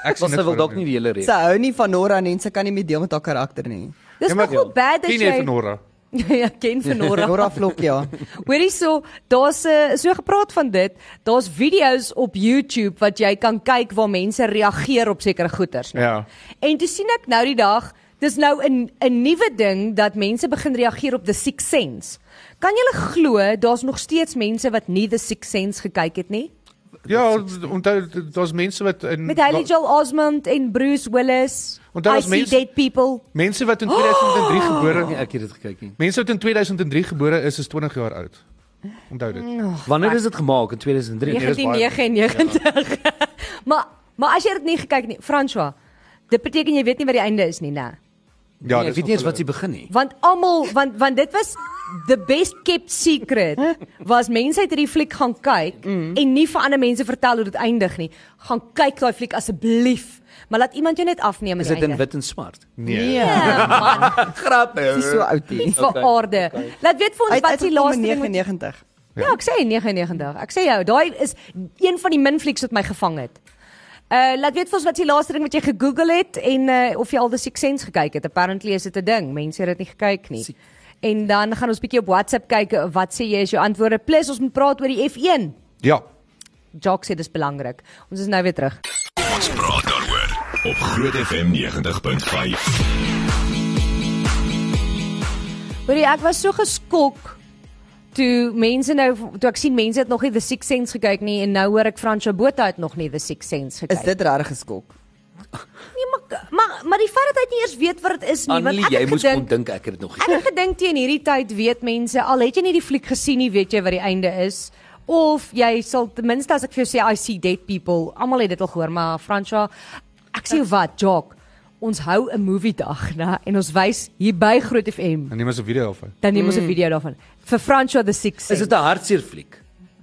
C: Ek
E: Was sy wil dalk nie
C: nie.
E: die hele reeks.
D: Sy hou nie van Nora nie en sy kan nie meer deel met haar karakter nie.
E: Ja,
C: Ja,
B: Dis nogal bad dat
C: Ken jy van
B: jy
C: Nora?
B: Ja, ken van Nora.
D: Nora vlok ja.
B: Hoorie so, daar's 'n so gepraat van dit. Daar's video's op YouTube wat jy kan kyk waar mense reageer op sekere goeters. né?
C: Ja.
B: En toe sien ek nou die dag, dis nou 'n 'n nuwe ding dat mense begin reageer op The Sixth Sense. Kan jy glo daar's nog steeds mense wat nie The Sixth Sense gekyk het nie?
C: Ja, onthou daar's mense wat in
B: Met Haley
C: da-
B: Joel Osment en Bruce Willis.
C: Onthou,
B: I
C: as
B: see
C: mens-
B: dead people.
C: mense wat in 2003 gebore
E: Nee, ek het dit gekyk nie.
C: Mense wat in 2003 gebore is, is 20 jaar oud. Onthou dit.
B: Oh,
E: Wanneer is dit gemaak? In
B: Ja,
E: Nee, 2003.
C: Ja, nee, dis baie-
B: 1999. maar maar as jy dit nie gekyk het nie, François, dit beteken jy weet nie wat die einde is nie, né?
C: Ja,
E: Ek
C: dis
E: weet nie eens
C: nog
E: wat sy begin nie.
B: Want almal want want dit was the best kept secret was mense het hierdie fliek gaan kyk mm. en nie vir ander mense vertel hoe dit eindig nie. Gaan kyk daai fliek asseblief, maar laat iemand jou net afneem
E: Is
B: aan die
E: dit in
B: einde.
E: wit en swart?
C: Nee.
B: Ja, man,
E: Grap. eh,
D: Sy is so oud
B: nie
D: hier.
B: vir
E: Okay,
B: okay, aarde.
E: okay.
B: Okay. Laat weet vir ons wat die laaste ding wat-
D: 99.
B: Ja, ek sê 99. Ek sê jou, daai is een van die min flieks wat my gevang het. Uh laat weet vir ons wat is die laaste ding wat jy gegoogel het en uh of jy al die Six Sense gekyk het. Apparently is dit 'n ding. Mense het dit nie gekyk nie.
E: Siek.
B: En dan gaan ons bietjie op WhatsApp kyk uh, wat sê jy is jou antwoorde plus ons moet praat oor die F1.
C: Ja.
B: Jock sê dis belangrik. Ons is nou weer terug.
A: Ons praat daaroor op Groot FM 90.5.
B: Hoorie, ek was so geskok toe mense nou toe ek sien mense het nog nie The Six Sense gekyk nie en nou hoor ek Fransjo Botha het nog nie The Six Sense gekyk.
D: Is dit regtig geskok?
B: Nee, maar maar maar die feit dat hy nie eers weet wat dit is nie, Nee,
E: Annelie,
B: want ek
E: jy
B: het
E: moes kon
B: gedink
E: dink ek het dit nog
B: ek
E: gesien.
B: het gedink teen hierdie tyd weet mense al het jy nie die fliek gesien nie, weet jy wat die einde is. Of jy sal ten minste as ek vir jou sê I see dead people, almal het dit al gehoor, maar Franswa, ek sê jou wat, Jock, ons hou 'n movie dag, né? En ons wys hier by Groot FM.
C: En neem ons 'n video af.
B: Dan neem ons 'n video daarvan. Vir Franswa the Six.
E: Hmm. Is dit 'n hartseer fliek?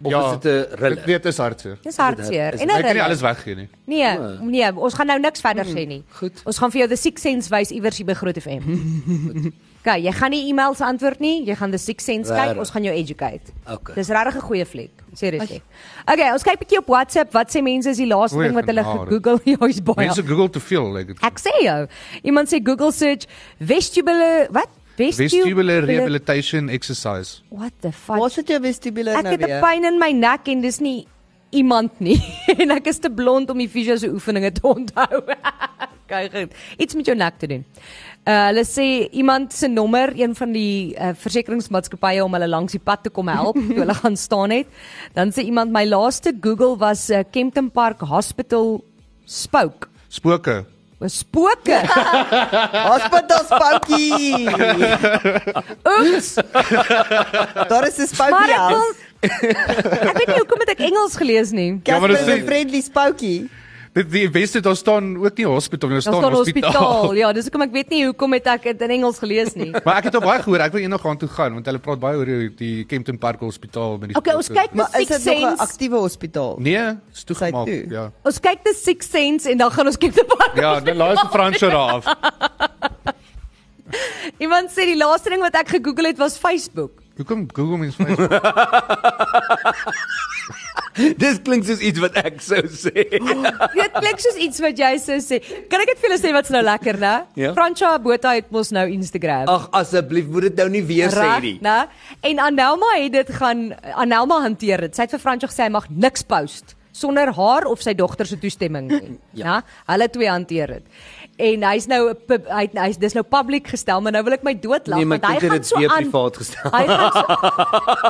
E: Of
C: Ja.
E: is dit 'n
C: Dit
E: thriller?
C: dit is hartseer.
B: Dis hartseer.
E: is
B: En
C: Ek kan nie
B: hulle-
C: alles weggee nie.
B: Nee, nee, ons gaan nou niks verder sê nie.
E: goed.
B: Ons gaan vir jou the six sense wys iewers hier by Groot FM. Okay, jy gaan nie e-mails antwoord nie, jy gaan the six sense kyk,
E: Rarig.
B: ons gaan jou educate.
E: Okay.
B: Dis regtig 'n goeie fliek, seriously. Okay, ons kyk bietjie op WhatsApp, wat sê mense is die laaste
C: Goeie
B: ding wat hulle
C: genade.
B: gegoogel het, is baie.
C: Mense Google te veel, like dit.
B: Ja. Ek sê jou, iemand sê Google search vestibule, wat?
C: Vestibular rehabilitation exercise.
B: What the fuck?
D: Waar sit jou vestibule
B: Ek
D: nou
B: het 'n
D: weer?
B: pyn in my nek en dis nie iemand nie en ek is te blond om die fisio se oefeninge te onthou. okay, goed. Iets met jou nek te doen. Uh hulle sê iemand se nommer, een van die uh, versekeringsmaatskappye om hulle langs die pad te kom help, toe hulle gaan staan het. Dan sê iemand my laaste Google was uh, Kempton Park Hospital spook.
C: Spooke.
B: O, Spooke.
D: Hospital spookie.
B: Oeps.
D: Daar is 'n
B: Maar
D: spookie
B: ek wil
D: house.
B: Ek weet nie hoekom het ek Engels gelees nie.
C: Ja, maar
D: Casper
C: dit
D: is
C: sê-
D: 'n friendly spookie.
C: Dit die beste daar staan ook nie hospitaal, daar
B: Ons
C: staan
B: staan hospitaal.
C: hospitaal.
B: Ja, dis hoekom ek weet nie hoekom het ek dit in Engels gelees nie.
C: Maar ek het al baie gehoor, ek wil eendag gaan toe gaan want hulle praat baie oor die- die Kempton Park Hospitaal met die
B: Okay, ons
C: spooke.
B: kyk na
D: Maar is
B: Six
D: dit nog 'n
B: Sense.
D: aktiewe hospitaal?
C: Nee, is toegemaak.
D: Sy toe.
C: Ja.
B: Ons kyk na Six Sense en dan gaan ons kyk te park.
C: Ja, dan laat se Fransjo daar af.
B: Iemand sê die laaste ding wat ek gegoogel het was Facebook.
C: Hoekom Google mens my?
E: Dis klink soos iets wat ek sou sê.
B: Dit klink soos iets wat jy sou sê. Kan ek dit vir julle sê wat's nou lekker, né?
E: Ja.
B: Francha Botha het mos nou Instagram.
E: Ag asseblief, moet dit nou nie weer sê
B: Reg,
E: nie.
B: né? En Anelma het dit gaan Anelma hanteer dit. Sy het vir Francha gesê hy mag niks post sonder haar of sy dogter se toestemming nie,
E: Ja.
B: né? Hulle twee hanteer dit. En hy's nou 'n pub- hy hy's dis nou public gestel, maar nou wil ek my dood lag
E: Nee, maar
B: want
E: ek
B: hy
E: dink dit
B: gaan
E: het
B: so
E: weer
B: aan.
E: privaat gestel.
B: Hy gaan so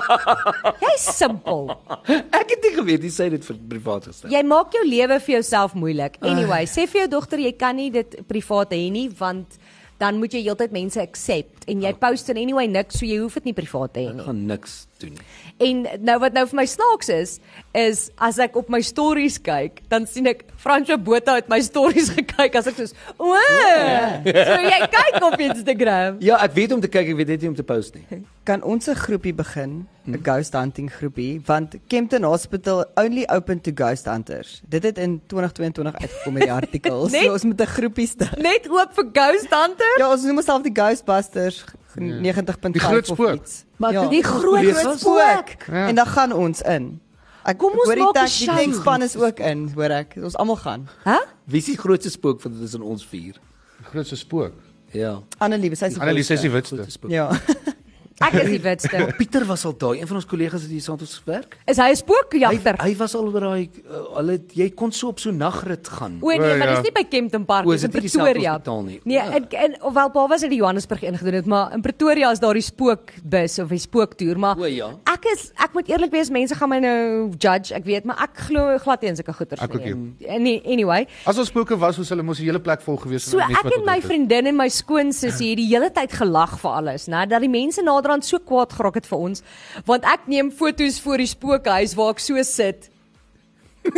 B: Jy's simpel.
E: Ek het nie geweet jy sê dit vir privaat gestel.
B: Jy maak jou lewe vir jouself moeilik. Anyway, sê vir jou dogter jy kan nie dit privaat hê nie want dan moet jy heeltyd mense accept en jy
E: Ja.
B: post en anyway niks, so jy hoef dit nie privaat te hê
E: Ek
B: nie.
E: gaan niks doen.
B: En nou wat nou vir my snaaks is, is as ek op my stories kyk, dan sien ek Fransjo Botha het my stories gekyk as ek soos, "O, so jy kyk op Instagram."
E: Ja, ek weet om te kyk, ek weet net nie om te post nie.
D: kan ons 'n groepie begin,
C: Hm.
D: 'n ghost hunting groepie, want Kempton Hospital only open to ghost hunters. Dit het in 2022 uitgekom in die artikel.
B: Net-
C: Nee.
D: so ons moet 'n groepie stig.
B: Net oop vir ghost hunter.
D: Ja, ons noem onsself die Ghostbusters g- 90.5
C: Ja. Die groot
D: of
C: spook.
D: iets.
E: Maar
D: ja.
B: Die groot
E: Lees
B: groot
E: ons?
B: spook.
C: Ja.
D: En dan gaan ons in. Ek
B: Kom ons
D: hoor die
B: maak 'n
D: tank- die
B: show.
D: tankspan is ook in, hoor ek. Ons almal gaan.
B: Hæ?
E: Wie is die grootste spook wat dit is in ons vier?
C: Die grootste spook.
E: Ja.
D: Annelie, sy's die
C: Annelies is
D: grootste.
C: die witste.
E: Grootste spook.
D: Ja.
B: Ek is die witste.
E: Pieter was al daai, een van ons kollegas wat hier saam met ons werk.
B: Is hy 'n
E: Hy
B: spookjagter?
E: hy was al oor daai uh, hulle jy kon so op so nagrit gaan.
B: O nee,
C: O,
B: maar
C: ja.
B: dis nie by Kempton Park
E: Hmm. O,
B: nie,
E: is
B: in
E: dit nie dieselfde
B: Pretoria.
E: hospitaal nie? Ah.
B: Nee,
E: O.
B: in in ofwel Paul was in die Johannesburg ingedoen het, maar in Pretoria is daar die spookbus of die spooktoer, maar
E: O, ja.
B: ek is ek moet eerlik wees, mense gaan my nou judge, ek weet, maar ek glo glad nie in sulke goeters
C: Ek ook
E: Hmm.
B: Nee, anyway.
C: As ons spooke was, ons hulle mos die hele plek vol gewees
B: So
C: mense
B: ek
C: wat
B: en my
C: ontdek het.
B: vriendin en my skoonsussie het die hele tyd gelag vir alles, né? Dat die mense naderhand so kwaad geraak het vir ons, want ek neem foto's voor die spookhuis waar ek so sit.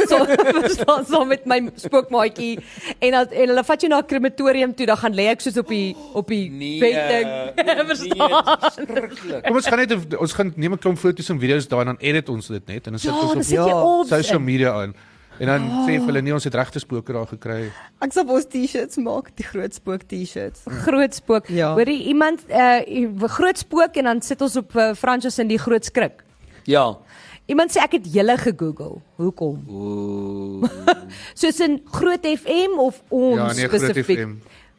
B: So staan saam met my spookmaatjie en dan en hulle vat jou na 'n krematorium toe, dan gaan lê ek soos op die op die Ja, bed ding. Verstaan?
C: Kom ons gaan net een- ons gaan neem 'n klomp foto's en video's daai en dan edit ons dit net en dan sit
B: Ja, dan
C: ons
B: sit Ah.
C: op
B: jy
D: ja,
B: op.
C: social media aan. En dan sê vir hulle nee, ons het regte spooke daar gekry.
D: Ek sal ons T-shirts maak, die groot spook T-shirts.
B: groot spook.
D: Ja.
B: Hoorie iemand uh groot spook en dan sit ons op uh, Francis in die groot skrik.
E: Ja.
B: Iemand sê ek het julle gegoogel. Hoekom?
E: O.
B: Soos in Groot FM of ons
C: Ja, nee, Groot
B: spesifiek.
C: FM.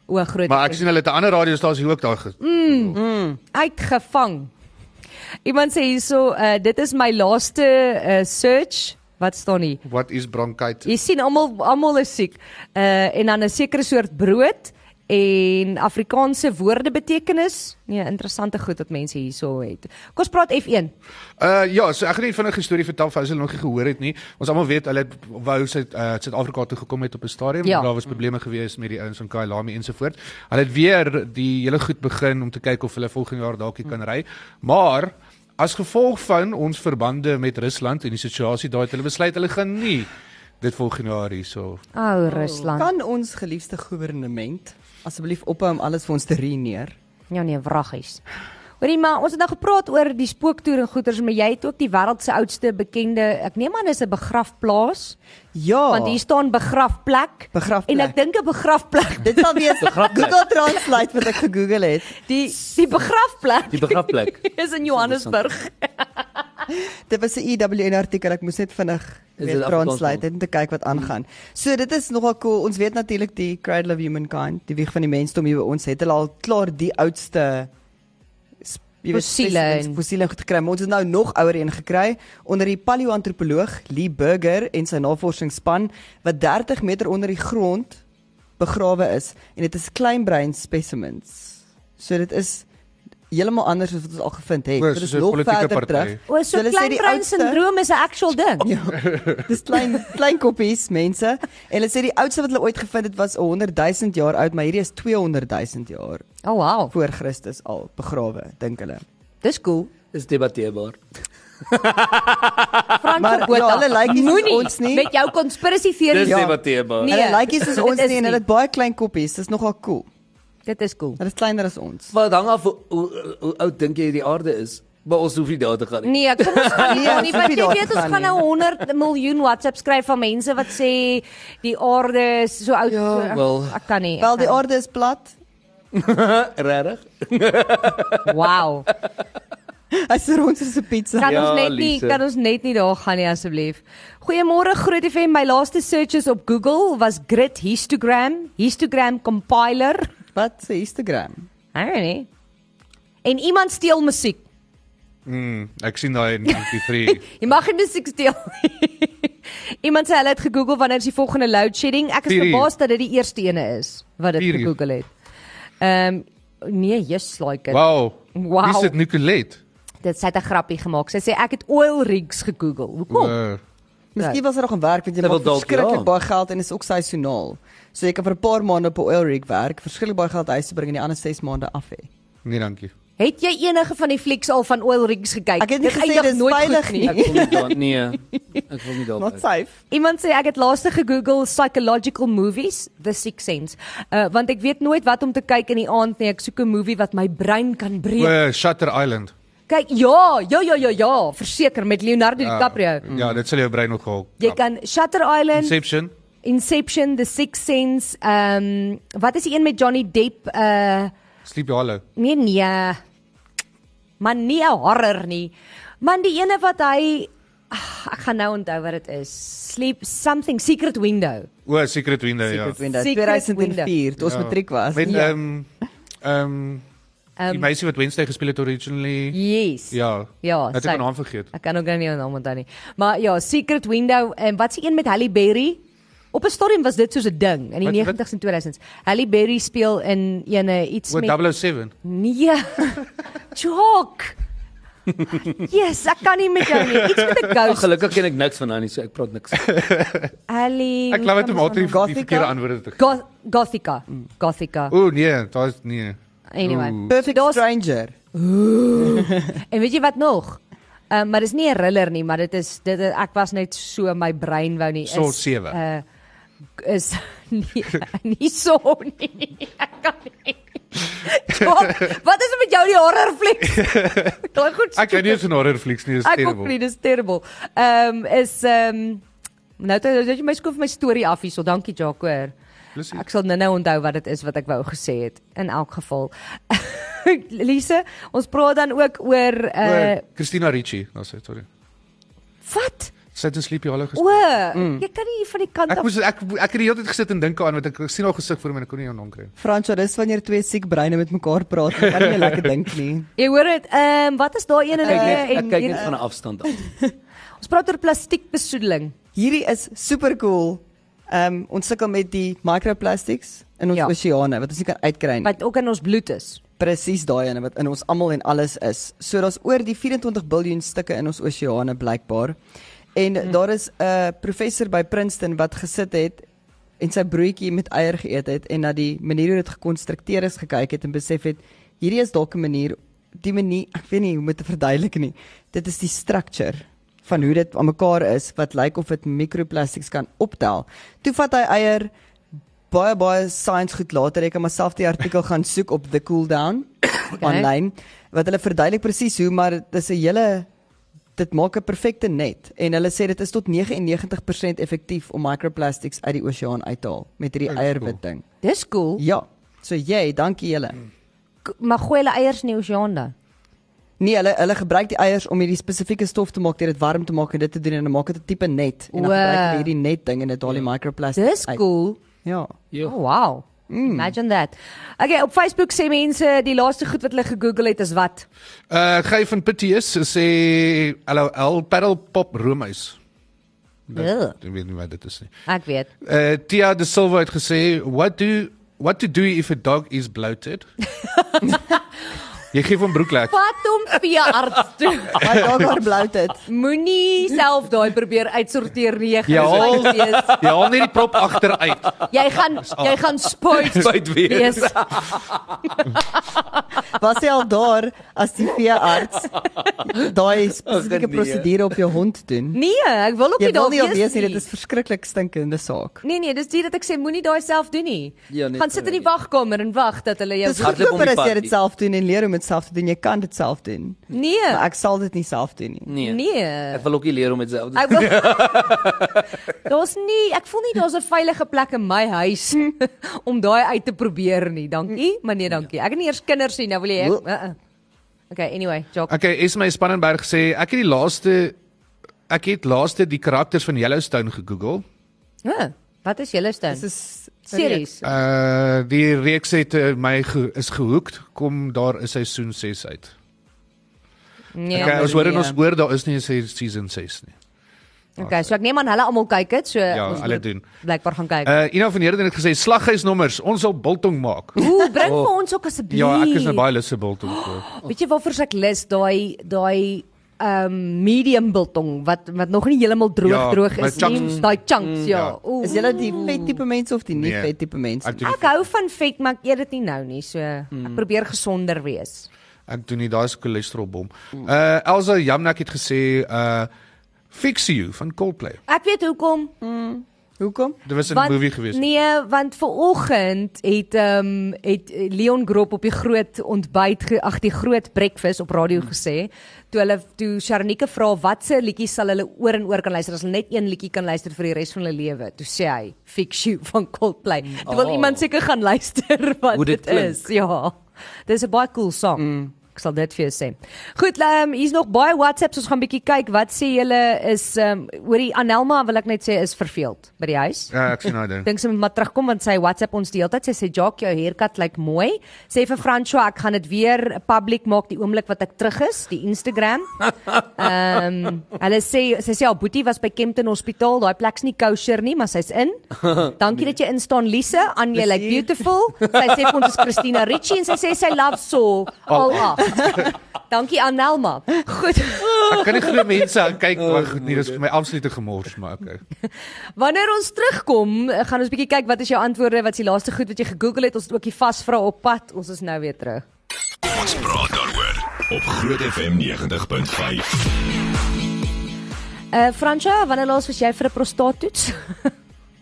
B: O, Groot
C: Maar ek
B: FM.
C: sien hulle het 'n ander radiostasie ook daar. ge-
B: Mm. Uitgevang. Iemand sê hierso, uh, dit is my laaste uh, search. Wat staan hier?
C: What is bronchitis?
B: Jy sien almal almal is siek. Uh en dan 'n sekere soort brood en Afrikaanse woorde betekenis. Nee, interessante goed wat mense hierso het. Kom ons praat F1.
C: Uh ja, so ek gaan net vinnig 'n storie vertel vir as hulle nog nie gehoor het nie. Ons almal weet hulle het wou Suid uh, Suid-Afrika toe gekom het op 'n stadium,
B: Ja.
C: ja. daar was probleme gewees met die ouens van Kailami ensovoorts. Hulle het weer die hele goed begin om te kyk of hulle volgende jaar dalk hier kan ry. Maar as gevolg van ons verbande met Rusland en die situasie daai het hulle besluit hulle gaan nie dit volgende jaar hierso.
B: Ou oh, Rusland.
D: Kan ons geliefde regering asseblief ophou om alles vir ons te reëneer?
B: Ja nee, wraggies. Hoorie maar, ons het nou gepraat oor die spooktoer en goeters, maar jy het ook die wêreld se oudste bekende, ek neem aan is 'n begrafplaas.
D: Ja.
B: Want hier staan begrafplek.
D: Begrafplek.
B: En ek dink 'n begrafplek.
D: Dit sal wees Google Translate wat ek gegoogel het.
B: Die die begrafplek
E: Die begrafplek.
B: is in Johannesburg.
D: Dit was 'n EWN artikel. Ek moes net vinnig
E: Is
D: weer
E: dit Afrikaans Hmm.
D: translate
E: dan?
D: het om te kyk wat aangaan. So dit is nogal cool. Ons weet natuurlik die Cradle of Humankind, die wieg van die mensdom hier by ons het hulle al klaar die oudste sp- jy weet,
B: Fossiele
D: spesies-
B: en-
D: fossiele goed gekry. Maar ons het nou nog ouer een gekry onder die paleoantropoloog Lee Burger en sy navorsingsspan wat 30 meter onder die grond begrawe is en dit is kleinbrein specimens. So dit is heeltemal anders as wat ons al gevind het.
C: O,
D: Dit is
C: soos 'n
D: nog
C: politieke
D: verder
C: party.
D: terug.
B: O, so
D: hulle sê die
B: kleinbrein
D: oudste-
B: sindroom is 'n actual ding. Ja.
D: Dis klein klein koppies mense. En hulle sê die oudste wat hulle ooit gevind het was 100 000 jaar oud, maar hierdie is 200 000 jaar
B: Oh wow.
D: voor Christus al begrawe, dink hulle.
B: Dis cool.
E: Dis debatteerbaar.
B: Frank
D: Maar
B: Botha.
D: ja, hulle lyk nie soos
B: Moenie
D: ons nie.
B: Met jou conspiracy
E: Dis
B: theories.
D: Ja.
E: debatteerbaar.
B: Nee.
D: Nee, hulle lyk nie soos
B: dit
D: ons
B: is
D: nie
B: nie.
D: en hulle het baie klein koppies. Dis nogal cool.
B: Dit is cool.
D: Hulle is kleiner as ons.
E: Wat hang af hoe, hoe, hoe oud dink jy die aarde is? Maar ons hoef nie daar te gaan nie.
B: Nee, kom ons gaan nie,
D: Nee,
B: daar nie
D: ons hoef
B: want
D: nie
B: jy
D: daar
B: weet
D: te
B: ons
D: gaan
B: gaan nou 100 miljoen WhatsApp skryf van mense wat sê die aarde is so oud.
E: Ja, wel.
B: ek kan nie. ek
D: Wel die
B: kan
D: aarde is plat.
E: Regtig?
B: nie. Wow.
D: Hy's rond soos 'n pizza.
B: Kan
E: Ja,
B: ons net nie
E: Lise.
B: kan ons net nie daar gaan nie asseblief. Goeiemôre Groot FM. My laaste searches op Google was grid histogram, histogram compiler.
D: Wat se Instagram?
B: I don't know. En iemand steel musiek.
C: Mm, ek sien daai in MP3.
B: Jy mag nie musiek steel nie. Iemand sê hulle het gegoogel wanneer is die volgende load shedding. Ek is
C: Vier uur.
B: verbaas dat dit die eerste ene is wat dit
C: Vier uur.
B: gegoogel het. Ehm um, nee, jy's like it.
C: Wow.
B: Wow.
C: Dis dit Nicolet.
B: Dit sê 'n grappie gemaak. Sy sê ek het oil rigs gegoogel. Hoekom? Uh,
C: Uh,
D: Miskien was dit nog 'n werk want jy
E: Terwyl
D: maak
E: dalk,
D: verskriklik
E: ja.
D: baie geld en dit is ook seisonaal. So jy kan vir 'n paar maande op 'n oil rig werk, verskriklik baie geld huis toe bring en die ander 6 maande af hê.
C: nee, dankie.
B: het jy enige van die flieks al van oil rigs gekyk?
D: Ek het nie
B: Dit
D: gesê
B: eindig
D: dis
B: nooit goed
D: veilig nie.
E: Ek wil nie daar nee. Ek wil nie daar.
D: Not safe.
B: Iemand sê ek het laaste gegoogel psychological movies, The Sixth Sense. Uh want ek weet nooit wat om te kyk in die aand nie. Ek soek 'n movie wat my brein kan breek.
C: Uh, Shutter Island.
B: Kyk, ja, ja ja ja ja, verseker met Leonardo DiCaprio.
C: Ja, ja, dit sal jou brein nog hou.
B: Jy kan Shutter Island, Inception,
C: Inception.
B: The Sixth Sense, ehm um, wat is die een met Johnny Depp? Uh
C: Sleepy Hollow.
B: nee nee. Man nie 'n horror nie. Man die ene wat hy ag, ek gaan nou onthou wat dit is. Sleep something Secret Window.
C: O, Secret Window,
D: Secret
C: ja.
D: Window
B: Secret
D: 2004 toe ons
C: Ja.
D: matriek was.
C: Met
B: Ja.
C: ehm ehm die
B: Ehm um,
C: meisie wat Wednesday gespeel het originally.
B: yes.
C: Ja.
B: Ja,
C: het
B: sy-
C: ek haar naam vergeet.
B: Ek kan ook nou nie haar naam onthou nie. Maar ja, Secret Window en wat se een met Halle Berry? Op 'n stadium was dit soos 'n ding in die
C: Wat-
B: 90s en 2000s. Halle Berry speel in ene iets
C: O,
B: met
C: 007.
B: Nee. Jock. Yes, ek kan nie met jou nie. Iets met 'n
E: Ag
B: ghost.
E: gelukkig ken ek niks van haar nie, so ek praat niks.
B: Halle.
C: Ek glo dit om altyd die
D: Gothica?
C: verkeerde antwoorde te gee.
B: Goth Gothica. Gothica.
C: O nee, daar's nee.
B: Anyway.
C: Oeh.
D: Ja. Perfect
B: Daar's-
D: Stranger.
B: En weet jy wat nog? Ehm maar dis nie 'n thriller nie, maar dit is dit ek was net so my brein wou nie is
C: Saw sewe.
B: Uh, is nie, nie so nie. Ek kan nie. Jock, wat is met jou die horror fliek? Daai goed.
C: Ek kan nie eens 'n horror flieks nie, is
B: Ek ook
C: terrible.
B: nie, dis terrible. Ehm um, is ehm um, nou het nou het jy my skoof my storie af hierso. Dankie Jaco.
C: Plesier.
B: Ek sal nou-nou onthou wat dit is wat ek wou gesê het in elk geval. Lise, ons praat dan ook oor uh
C: O, Christina Ricci, daar's dit, sorry.
B: wat?
C: Sy het in Sleepy
B: O,
C: Hollow gespeel.
B: mm. jy kan nie hier van die kant
C: Ek
B: af.
C: moes ek ek het die hele tyd gesit en dink aan want ek sien haar gesig voor my en ek kon nie haar naam kry nie.
D: Francois, dis wanneer twee siek breine met mekaar praat, dan kan jy lekker dink nie.
B: Jy hoor dit. Ehm wat is daai een en
E: Kyk net,
B: eh,
E: ek
B: en
E: kyk
B: en-
E: net van 'n afstand af.
B: ons praat oor plastiekbesoedeling.
D: Hierdie is super cool. Ehm um, ons sukkel met die microplastics in ons
B: Ja.
D: ja. oseane wat ons nie kan uitkry nie.
B: wat ook in ons bloed is.
D: Presies daai ene wat in ons almal en alles is. So daar's oor die 24 miljard stukke in ons oseane blykbaar. En mm. daar is 'n professor by Princeton wat gesit het en sy broodjie met eier geëet het en na die manier hoe dit gekonstrukteer is gekyk het en besef het hierdie is dalk 'n manier die manier ek weet nie hoe om dit te verduidelik nie. Dit is die structure van hoe dit aan mekaar is wat lyk of dit microplastics kan optel. Toe vat hy eier baie baie science goed later ek kan myself die artikel gaan soek op the cool down online wat hulle verduidelik presies hoe maar dis 'n hele dit maak 'n perfekte net en hulle sê dit is tot 99% effektief om microplastics uit die oseaan uit te haal met hierdie
C: Oh, cool.
D: eierwit ding.
B: Dis cool.
D: Ja. So jy, dankie julle.
B: K- Maar gooi hulle eiers in die oseaan dan.
D: Nee, hulle hulle gebruik die eiers om hierdie spesifieke stof te maak, deur dit warm te maak en dit te doen en dan maak dit 'n tipe net en
B: Wow.
D: dan
B: Ja.
D: gebruik hulle hierdie net ding en dit haal die microplastics
B: Dis
D: uit.
B: cool.
D: Ja.
E: Jo.
B: Oh, wow. Mm. Imagine that. Okay, op Facebook sê mense die laaste goed wat hulle gegoogel het is wat?
C: Uh Gey van Pittius sê LOL Paddle Pop Roomys.
B: Ugh.
C: Ek weet nie wat dit is nie.
B: Ek weet.
C: Uh Tia de Silva het gesê what do what to do if a dog is bloated? Jy gee hom broeklek.
B: Vat hom veearts toe.
D: Maar daar gaan blou dit.
B: Moenie self daai probeer uitsorteer nie. Jy
C: Ja.
B: gaan spyt wees.
C: Jy haal net die prop agteruit.
B: Jy gaan jy gaan spyt
E: Spyt wees.
B: wees.
D: Was jy al daar as die veearts daai spesifieke
C: eh.
E: nee.
D: prosedure op jou hond doen?
B: Nee, ek wil op
D: Jy
B: nie
D: wil
B: daar
D: nie al
B: wees
D: weet nie,
B: nie.
D: dit is verskriklik stinkende saak.
B: Nee nee, dis dit dat ek sê moenie daai self doen nie.
E: Ja,
C: nee,
E: net
B: gaan sit in die
E: correct.
B: wagkamer en wag dat hulle jou
D: Dis
E: hardloop om die
D: goedkoper as jy
E: pad
D: dit
E: nie.
D: self doen en leer om dit self te doen. Jy kan dit self doen.
B: Nee.
D: Maar ek sal dit nie self doen nie.
E: Nee.
B: Nee.
E: Ek wil ook nie leer om dit self te doen.
B: Ek wil Daar's nie, ek voel nie daar's 'n veilige plek in my huis
C: Ja.
B: om daai uit te probeer nie. Dankie, maar nee, dankie. Ek het nie eers kinders nie, nou wil jy ek.
E: Wel-
B: Uh -uh. Okay, anyway, Jock.
C: Okay, Esme Spannenberg sê ek het die laaste ek het laaste die karakters van Yellowstone gegoogel.
B: Ja, wat is Yellowstone?
D: Dis is
B: Series.
C: Uh die reeks het uh, my ge, is gehoekt, kom daar is seisoen 6 uit.
B: Nee.
C: Ja, okay, ons hoor en
B: nee.
C: ons hoor daar is nie 'n se- season 6 nie.
B: Okay, Nee. so ek neem aan hulle almal kyk dit, so
C: Ja,
B: ons
C: hulle
B: moet
C: doen.
B: Blykbaar gaan kyk.
C: Uh Ina van Heerden het gesê slaghuisnommers, ons sal biltong maak.
B: Ooh, bring vir ons ook asseblief.
C: Oh. Ja, ek is nou baie lus vir biltong. so.
B: Weet jy waarvoor ek lus daai daai ehm um, medium biltong wat wat nog nie heeltemal droog
C: Ja,
B: droog
C: met
B: is nie.
C: chunks.
B: Daai chunks, ja.
C: ja.
B: Ooh.
D: Is julle die vet tipe mense of die nie
C: Nee.
D: vet tipe mense?
C: Ek doen
B: Ek
C: nie,
B: hou van vet, maar ek eet dit nie nou nie, so
C: Mm.
B: ek probeer gesonder wees.
C: ek doen nie daai is cholesterolbom. Uh Elsa Jamnak het gesê uh Fix You van Coldplay.
B: Ek weet hoekom.
D: Hoekom?
C: Dit was 'n
B: want-
C: movie gewees.
B: Nee, want vanoggend het ehm um, het Leon Grob op die groot ontbyt ge- ag die groot breakfast op radio gesê toe hulle toe Sharnike vra watse liedjies sal hulle oor en oor kan luister as hulle net een liedjie kan luister vir die res van hulle lewe. Toe sê hy Fix You van Coldplay. Toe wil
E: Oh.
B: iemand seker gaan luister wat
E: Hoe dit Mm.
B: dit is. Ja. Dis 'n baie cool song. Ek sal dit vir jou sê. Goed, ehm um, hier's nog baie WhatsApps. Ons gaan bietjie kyk wat sê julle is ehm um, oor die Anelma wil ek net sê is verveeld by die huis.
C: Uh, ek sien nou ding.
B: Dink sy moet maar terugkom want sy WhatsApp ons die hele tyd. Sy sê Jock, jou haircut lyk mooi. Sê vir Francois, ek gaan dit weer public maak die oomblik wat ek terug is, die Instagram. Ehm hulle sê sy sê haar boetie was by Kempton Hospitaal. Daai plek's nie kosher nie, maar sy's in. Dankie dat jy instaan Lise. Aan jy lyk
D: Plesier.
B: beautiful. Sy sê vir ons is Christina Ricci en sy sê sy love soul all off. Dankie Anelma. Goed.
C: Ek kan nie glo mense aan kyk
E: Oh,
C: maar goed nie,
E: nee.
C: dis vir my absolute gemors, maar okay.
B: Wanneer ons terugkom, eh, gaan ons bietjie kyk wat is jou antwoorde, wat is die laaste goed wat jy gegoogel het? Ons het ook die vasvra op pad. Ons is nou weer terug.
A: Ons praat daaroor op Groot FM 90.5.
B: Uh Fransja, wanneer laas was jy vir 'n prostaattoets?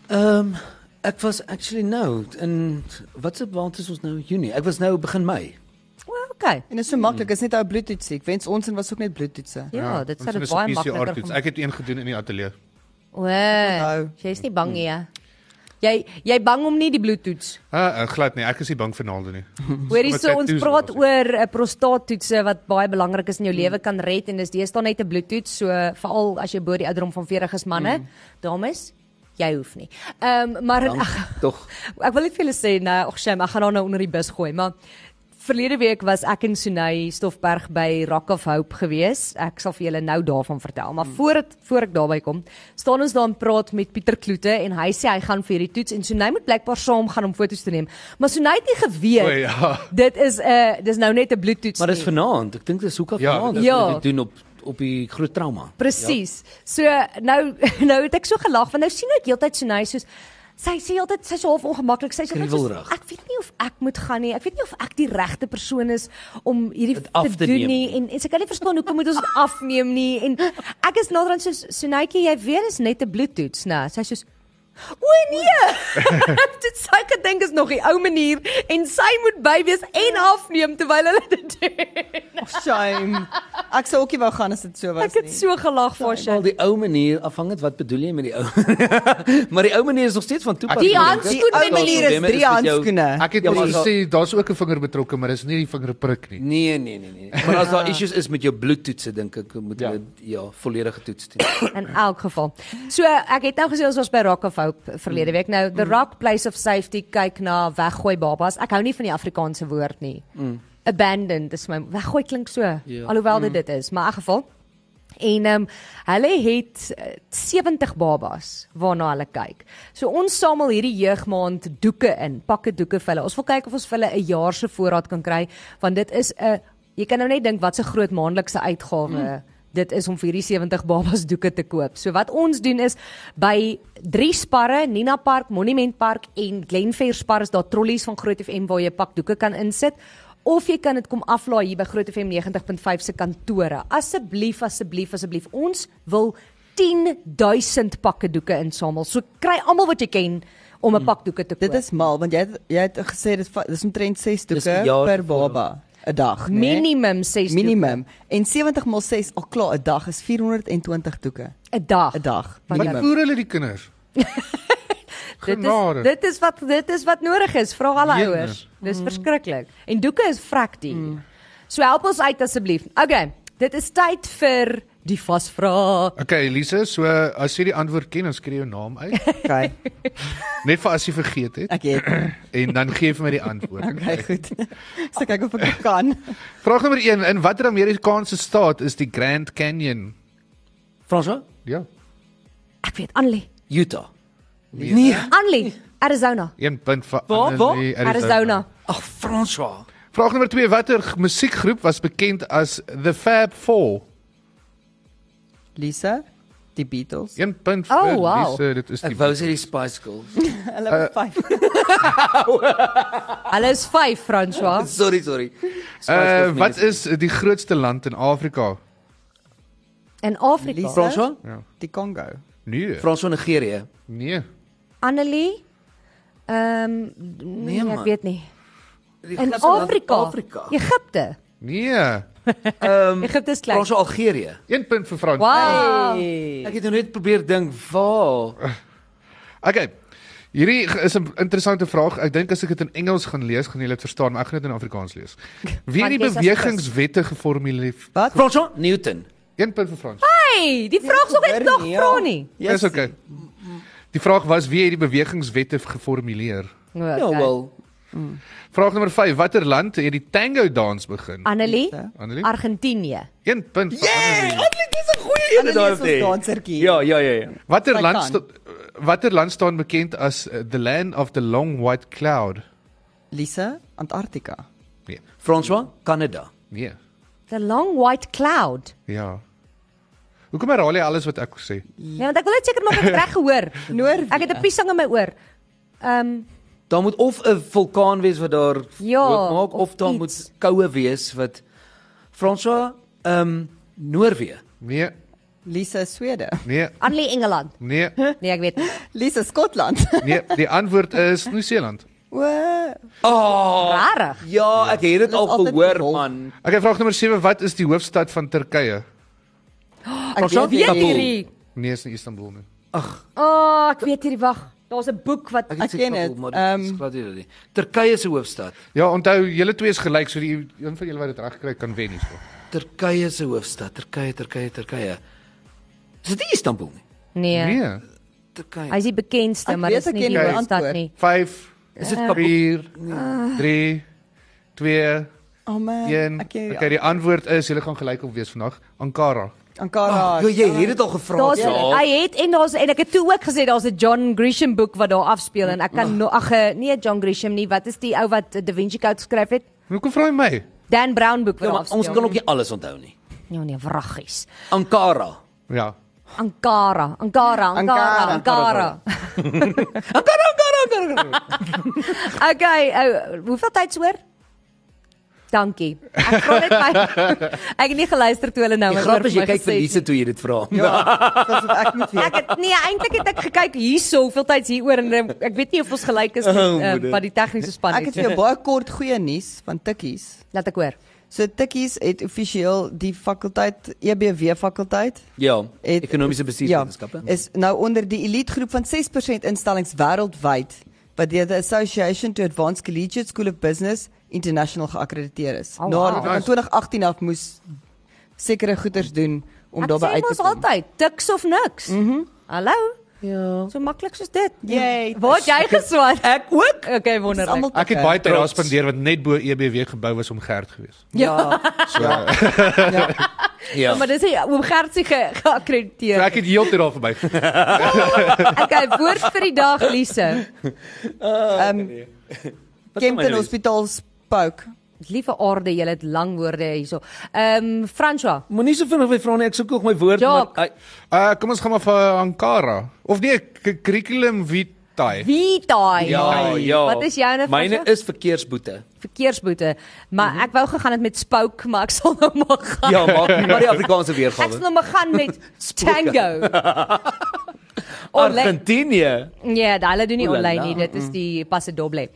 E: Ehm um, ek was actually nou in wat se maand is ons nou Junie. Ek was nou begin Mei.
B: Well, okay.
D: En dit is so maklik, is net ou bloedtoets. Ek wens ons en was ook net bloedtoetse.
B: Ja, ja dit sou
C: ons
B: dit
C: is
B: baie
C: een PCR
B: makliker
C: toets.
B: gemaak.
C: Ek het een gedoen in die ateljee.
B: Wow. Jy's nie bang nie, hè? Hmm. Jy jy bang om nie die bloedtoets.
C: Ah, uh, glad nie, ek is nie bang vir naalde nie.
B: Hoorie
C: Met
B: so ons
C: tattoos
B: praat
C: op ons.
B: oor 'n prostaattoetse wat baie belangrik is in jou lewe kan red en dis deesdae net 'n bloedtoets, so veral as jy bo die ouderdom van 40 is manne, dames, jy hoef nie. Ehm um, maar
E: Dan tog.
B: Ek wil net vir julle sê, nee, ag shame, ek gaan haar nou onder die bus gooi, maar verlede week was ek en Sunay Stoffberg by Rock of Hope gewees. Ek sal vir julle nou daarvan vertel, maar voordat voor ek daarby kom, staan ons daar en praat met Pieter Kloete en hy sê hy gaan vir hierdie toets en Sunay moet blykbaar saam gaan om foto's te neem. Maar Sunay het nie geweet.
C: O, ja.
B: Dit is 'n uh, dis nou net 'n bloedtoets.
E: Maar dis
B: nie.
E: vanaand. Ek dink dis hoekom
C: Ja,
E: vanaand.
C: dis-
E: Ja.
B: Ja.
E: Dit doen op op die groot trauma.
B: Presies. So nou nou het ek so gelag want nou sien ek heeltyd so nou soos sy sê altyd sy's half ongemaklik. Sy sê
E: Kriewelrig.
B: ek weet nie of ek moet gaan nie. Ek weet nie of ek die regte persoon is om hierdie
E: Het af
B: te,
E: te
B: doen
E: neem
B: nie
E: nie.
B: en, en sy kan nie verstaan hoekom moet ons dit afneem nie en ek is naderhand soos Sonaitjie, jy weet is net 'n bloedtoets, né? Sy sê O nee. dit sou gedink is nog die ou manier en sy moet by wees en
E: Ja.
B: afneem terwyl hulle dit doen.
D: Oh, Shame. Ek sou ookie wou gaan as dit so was
B: Ek het
D: nie.
B: so gelag vir sy.
E: Wel die ou manier afhang dit wat bedoel jy met die ou. maar die ou manier is nog steeds van toepassing.
B: Die
E: dink ek.
B: handskoen
E: Daar
D: manier is
E: probleme
D: drie
E: met jou-
D: handskoene.
C: Ek het
E: Ja,
C: ja,
E: maar
C: mos
E: as daar-
C: gesê daar's ook 'n vinger betrokke, maar dis nie die vinger prik nie.
E: Nee, nee, nee, nee. Maar as
D: Ah.
E: daar issues is met jou bloedtoetse dink ek moet
C: Ja.
E: hulle ja. ja, volledige toets doen.
B: in elk geval. So ek het nou gesê ons was by Rock of Hope verlede week. Nou the Rock Place of Safety kyk na weggooi babas. Ek hou nie van die Afrikaanse woord nie. Mm. Abandoned dis my weggooi klink so.
E: Ja.
B: Alhoewel dit dit is, maar in elk geval. En ehm um, hulle het eh, 70 babas waarna hulle kyk. So ons samel hierdie jeugmaand doeke in, pakke doeke vir hulle. Ons wil kyk of ons vir hulle 'n jaar se voorraad kan kry want dit is 'n jy kan nou net dink wat 'n groot maandelikse uitgawe mm. dit is om vir hierdie 70 babas doeke te koop. So wat ons doen is by drie sparre, Nina Park, Monument Park en Glenfair Spar is daar trollies van Groot FM waar jy 'n pak doeke kan insit of jy kan dit kom aflaai hier by Groot FM 90.5 se kantore. Asseblief, asseblief, asseblief. Ons wil 10000 pakke doeke insamel. So kry almal wat jy ken om 'n pak doeke te koop.
D: Hmm. Dit is mal want jy het, jy het gesê dit va- dis omtrent 6
E: Dis een
D: doeke
E: jaar
D: per
E: voorraad.
D: baba 'n dag, né?
B: minimum 6
D: nee, minimum. En 70 maal 6 al klaar 'n dag is 420 doeke
B: 'n dag.
D: 'n dag.
B: Wat
C: Wat
D: Minimum.
C: voer hulle die kinders?
B: Dit
C: Genade.
B: is dit is wat dit is wat nodig is, vra alle
C: Jene.
D: Hmm.
B: ouers. Dis verskriklik. En doeke is vrek duur. So help ons uit asseblief. Okay, dit is tyd vir die vasvra.
C: Okay, Elise, so as jy die antwoord ken, dan skryf jou naam uit,
D: Okay.
C: net vir as jy vergeet het,
D: Ek het.
C: en dan gee jy vir my die antwoord.
D: Okay, goed. So kyk of ek kan.
C: Vraag nommer 1: In watter Amerikaanse staat is die Grand Canyon?
E: Fransa?
C: Ja,
B: Ek weet, Annelie.
E: Utah. Nee.
B: Annelie, Arizona.
C: 1 punt vir
E: Waar, waar?
C: Annelie,
B: Arizona.
E: Ag, Fransa.
C: Vraag nommer 2: Watter g- musiekgroep was bekend as The Fab 4?
D: Lisa, die Beatles.
C: 1 punt vir
B: Oh, wow.
C: Elise, dit is die
E: Ek wou sê die Spice Girls.
D: Hulle was vyf.
B: Hulle is 5 François.
E: sorry, sorry. Eh,
C: Uh, wat is die grootste land in Afrika?
B: In Afrika.
D: Lisa?
E: Fransa?
D: Die Kongo.
C: Nee.
E: Fransa Ja. Nigerië.
C: Nee.
B: Annelie. Ehm nee,
E: Nee,
B: ek
E: man.
B: weet nie.
E: Die
B: In
E: Egipse land-
B: Afrika. Ja,
E: Afrika.
B: Egipte.
C: Nee.
E: Ehm
B: Egipte is klein.
E: Fransa Algerië.
C: 1 punt vir Frans.
B: Wow.
E: Ek het nou net probeer dink waar.
C: Okay. Hierdie g- is 'n interessante vraag. Ek dink as ek dit in Engels gaan lees, gaan julle dit verstaan, maar ek gaan dit in Afrikaans lees. Wie het die
B: Want jy's as
C: bewegingswette geformuleer?
D: Wat?
E: Fransa Newton.
C: 1 punt vir
B: Ah,
C: Frans.
B: Hey,
D: Nee,
B: die vraag sou ek nog
D: ja.
B: vra nie.
C: Dis okay. Die vraag was wie het die bewegingswette geformuleer?
B: Nou,
E: Ja wel.
C: Vraag nommer 5: Watter land het die tango dans begin?
B: Annelie,
C: Annelie?
B: Argentinië.
C: 1 punt vir Annelie.
E: dis 'n goeie
D: Annelie is ons dansertjie.
E: Ja, ja, ja, ja.
C: Watter
D: Sy
C: land
D: kan.
C: sta- watter land staan bekend as uh, the land of the long white cloud?
D: Lisa, Antarktika.
C: Nee.
E: Fransa Kanada.
C: Nee.
B: The long white cloud.
C: Ja. Hoekom herhaal jy alles wat ek sê?
B: Nee, want ek wil net seker maak ek het reg gehoor.
D: Noorwe-
B: Ek het 'n piesang in my oor. Ehm
E: Daar moet of 'n vulkaan wees wat daar
B: Ja,
E: rook maak of,
B: of
E: of daar
B: iets.
E: moet koue wees wat Fransa ehm Noorwe.
C: Nee.
D: Lisa, Swede.
C: Nee.
B: Annelie Engeland.
C: Nee.
B: Nee, ek weet nie.
D: Lisa, Skotland.
C: Nee, die antwoord is Nieu-Seeland.
D: O,
E: Ah,
B: Rarig.
E: ja, ek het dit
D: Dit is
E: al
D: altyd
E: gehoor
D: gewolf.
E: man.
C: Okay, vraag nommer 7, wat is die hoofstad van Turkye?
D: ek
E: Fransa?
D: weet nie.
B: hierdie.
C: Nee, is nie Istanbul nie.
B: O, oh, ek weet hierdie wag. Daar's 'n boek wat
E: Ek
D: Ek
E: het
D: ken
E: dit
D: dit,
E: maar dit is
D: ehm,
E: glad nie dit nie. Turkye se hoofstad.
C: Ja, onthou, julle twee is gelyk, so die een van julle wat dit reg kry kan wen hierso.
E: Turkye se hoofstad. Turkye, Turkye, Turkye. Is dit nie Istanbul nie?
B: Nee. nee.
C: Nee.
E: Turkye.
B: Hy's die bekendste,
D: Ek
B: maar
D: weet
B: dis
D: ek
B: nie
D: ken
B: die
C: die
B: hoofstad
D: antwoord.
B: nie.
C: 5
E: Is dit Kabul?
C: 4
E: Nee.
C: 3 2
D: Oh man.
E: Ah,
C: 1
D: Ek
E: ja.
D: ken
C: Okay, die antwoord is julle gaan gelyk op wees vandag. Ankara.
D: Ankara.
E: Ja, jy het dit al gevra.
B: Daar's
E: Ja.
B: hy het en daar's en ek het toe ook gesê daar's 'n John Grisham boek wat daar afspeel en ek
E: Mm.
B: kan no, ag eh, nee John Grisham nie, wat is die ou wat Da Vinci Code geskryf het?
C: Hoekom vra jy my?
B: Dan Brown boek wat
E: Ja,
B: daar
E: maar
B: afspeel.
E: ons kan ook nie alles onthou nie.
B: Ja nee, wraggies.
E: Ankara.
C: Ja.
B: Ankara, Ankara, Ankara,
D: Ankara,
B: Ankara.
E: Ankara, Ankara, Ankara.
B: Okay, ou, hoeveel tyd hoor? Dankie. Ek vra net my Ek het nie geluister toe hulle nou
E: Die
B: wat
E: grap
B: oor
E: is jy
B: my
E: kyk
B: gesê
E: vir
B: het
E: Lise toe jy dit vra.
D: Ja, asof ek moet weet.
B: Ek het nee, eintlik het ek gekyk hierso hoeveel tyd hieroor en eh, ek weet nie of ons gelyk is met
E: Oh,
B: eh,
E: moeder.
B: wat die tegniese span
D: Ek het
B: het.
D: vir jou baie kort goeie nuus van Tikkies.
B: Laat ek hoor.
D: So Tikkies het offisieel die fakulteit EBW fakulteit
E: Ja,
D: het
E: ekonomiese bestuurswetenskappe.
D: Ja, is nou onder die elite groep van 6% instellings wêreldwyd wat deur the Association to Advanced Collegiate School of Business internasionaal geakkrediteer is. Nou,
B: Oh,
D: Nadat
B: wow.
D: dit van 2018 af moes sekere goeders doen om
B: Ek
D: daarbey
B: sê
D: uit
B: mos
D: te kom.
B: altyd tiks of niks. Mhm. Mm Hallo.
E: Ja.
B: So maklik soos dit.
D: Yay.
B: Waar het jy geswat? Ek ook. Okay,
D: Dis
B: wonderlik.
D: almal
C: Ek het
D: tikke.
C: baie tyd daar
E: Eh, Trots.
C: spandeer wat net bo EBW gebou was om gerd gewees.
D: ja.
C: So, so
E: Ja.
B: Maar dis hy oom Gert se ge geakkrediteer.
C: ek het heeltyd daar verby. gegaan.
B: Okay, woord vir die dag Lise.
D: Ehm Kempton
E: nou
D: Hospitaal spook.
B: Liewe aarde, jy het lang woorde hierso. Ehm um, François.
E: Moenie so vinnig my vra nie, ek soek nog my woord
B: Job.
E: maar
C: Uh kom ons gaan maar vir Ankara. Of nee, k- curriculum vitae.
B: Wie daai?
E: Ja, ja.
B: Wat is joune
E: Myne
B: François?
E: is verkeersboete.
B: verkeersboete, maar ek wou gegaan het met spook, maar ek sal nou maar gaan.
E: Ja, maak nie maar die Afrikaanse
B: Ek sal
E: weergawe.
B: nou maar gaan met tango. Oh, Online.
E: Argentinië.
B: Ja, daai hulle doen nie
E: Oelala.
B: online nie, dit is die passe doble.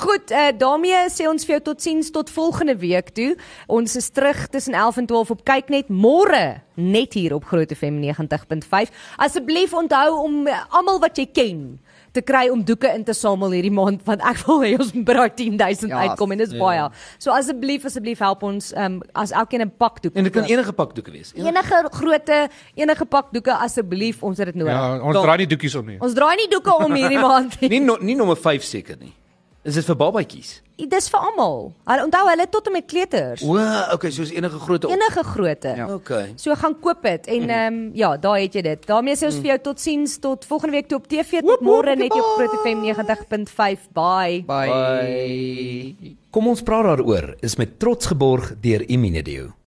B: Goed, eh daarmee sê ons vir jou totsiens tot volgende week toe. Ons is terug tussen 11 en 12 op kyk net môre net hier op Groot FM 90.5. Asseblief onthou om eh, almal wat jy ken te te kry om doeke in te samel hierdie maand want ek wil hê ons moet by daai 10000
D: Ja,
B: uitkom en dis
E: ja.
B: baie. So asseblief asseblief help ons ehm um, as elkeen 'n pak doek.
E: En dit kan
B: koop.
E: enige pak doeke wees. Enige,
B: enige grootte, enige pak doeke asseblief, ons het dit nodig.
C: Ja, ons
E: Dalk-
C: draai nie doekies om nie.
B: Ons draai nie doeke om hierdie maand nie.
E: nie no, nie nommer 5 seker nie. Is dit vir babatjies?
B: Dis vir almal. Hulle onthou hulle tot en met kleuters.
E: O, okay, soos enige groot op.
B: Enige grootte.
D: Ja.
E: Okay.
B: So gaan koop dit en ehm um, ja, daar het jy dit. daarmee sê ons vir jou totsiens tot volgende week toe op TV tot môre net hier op Groot FM 90.5. Bye.
D: Bye.
E: Kom ons praat daaroor is met trots geborg deur Immediate.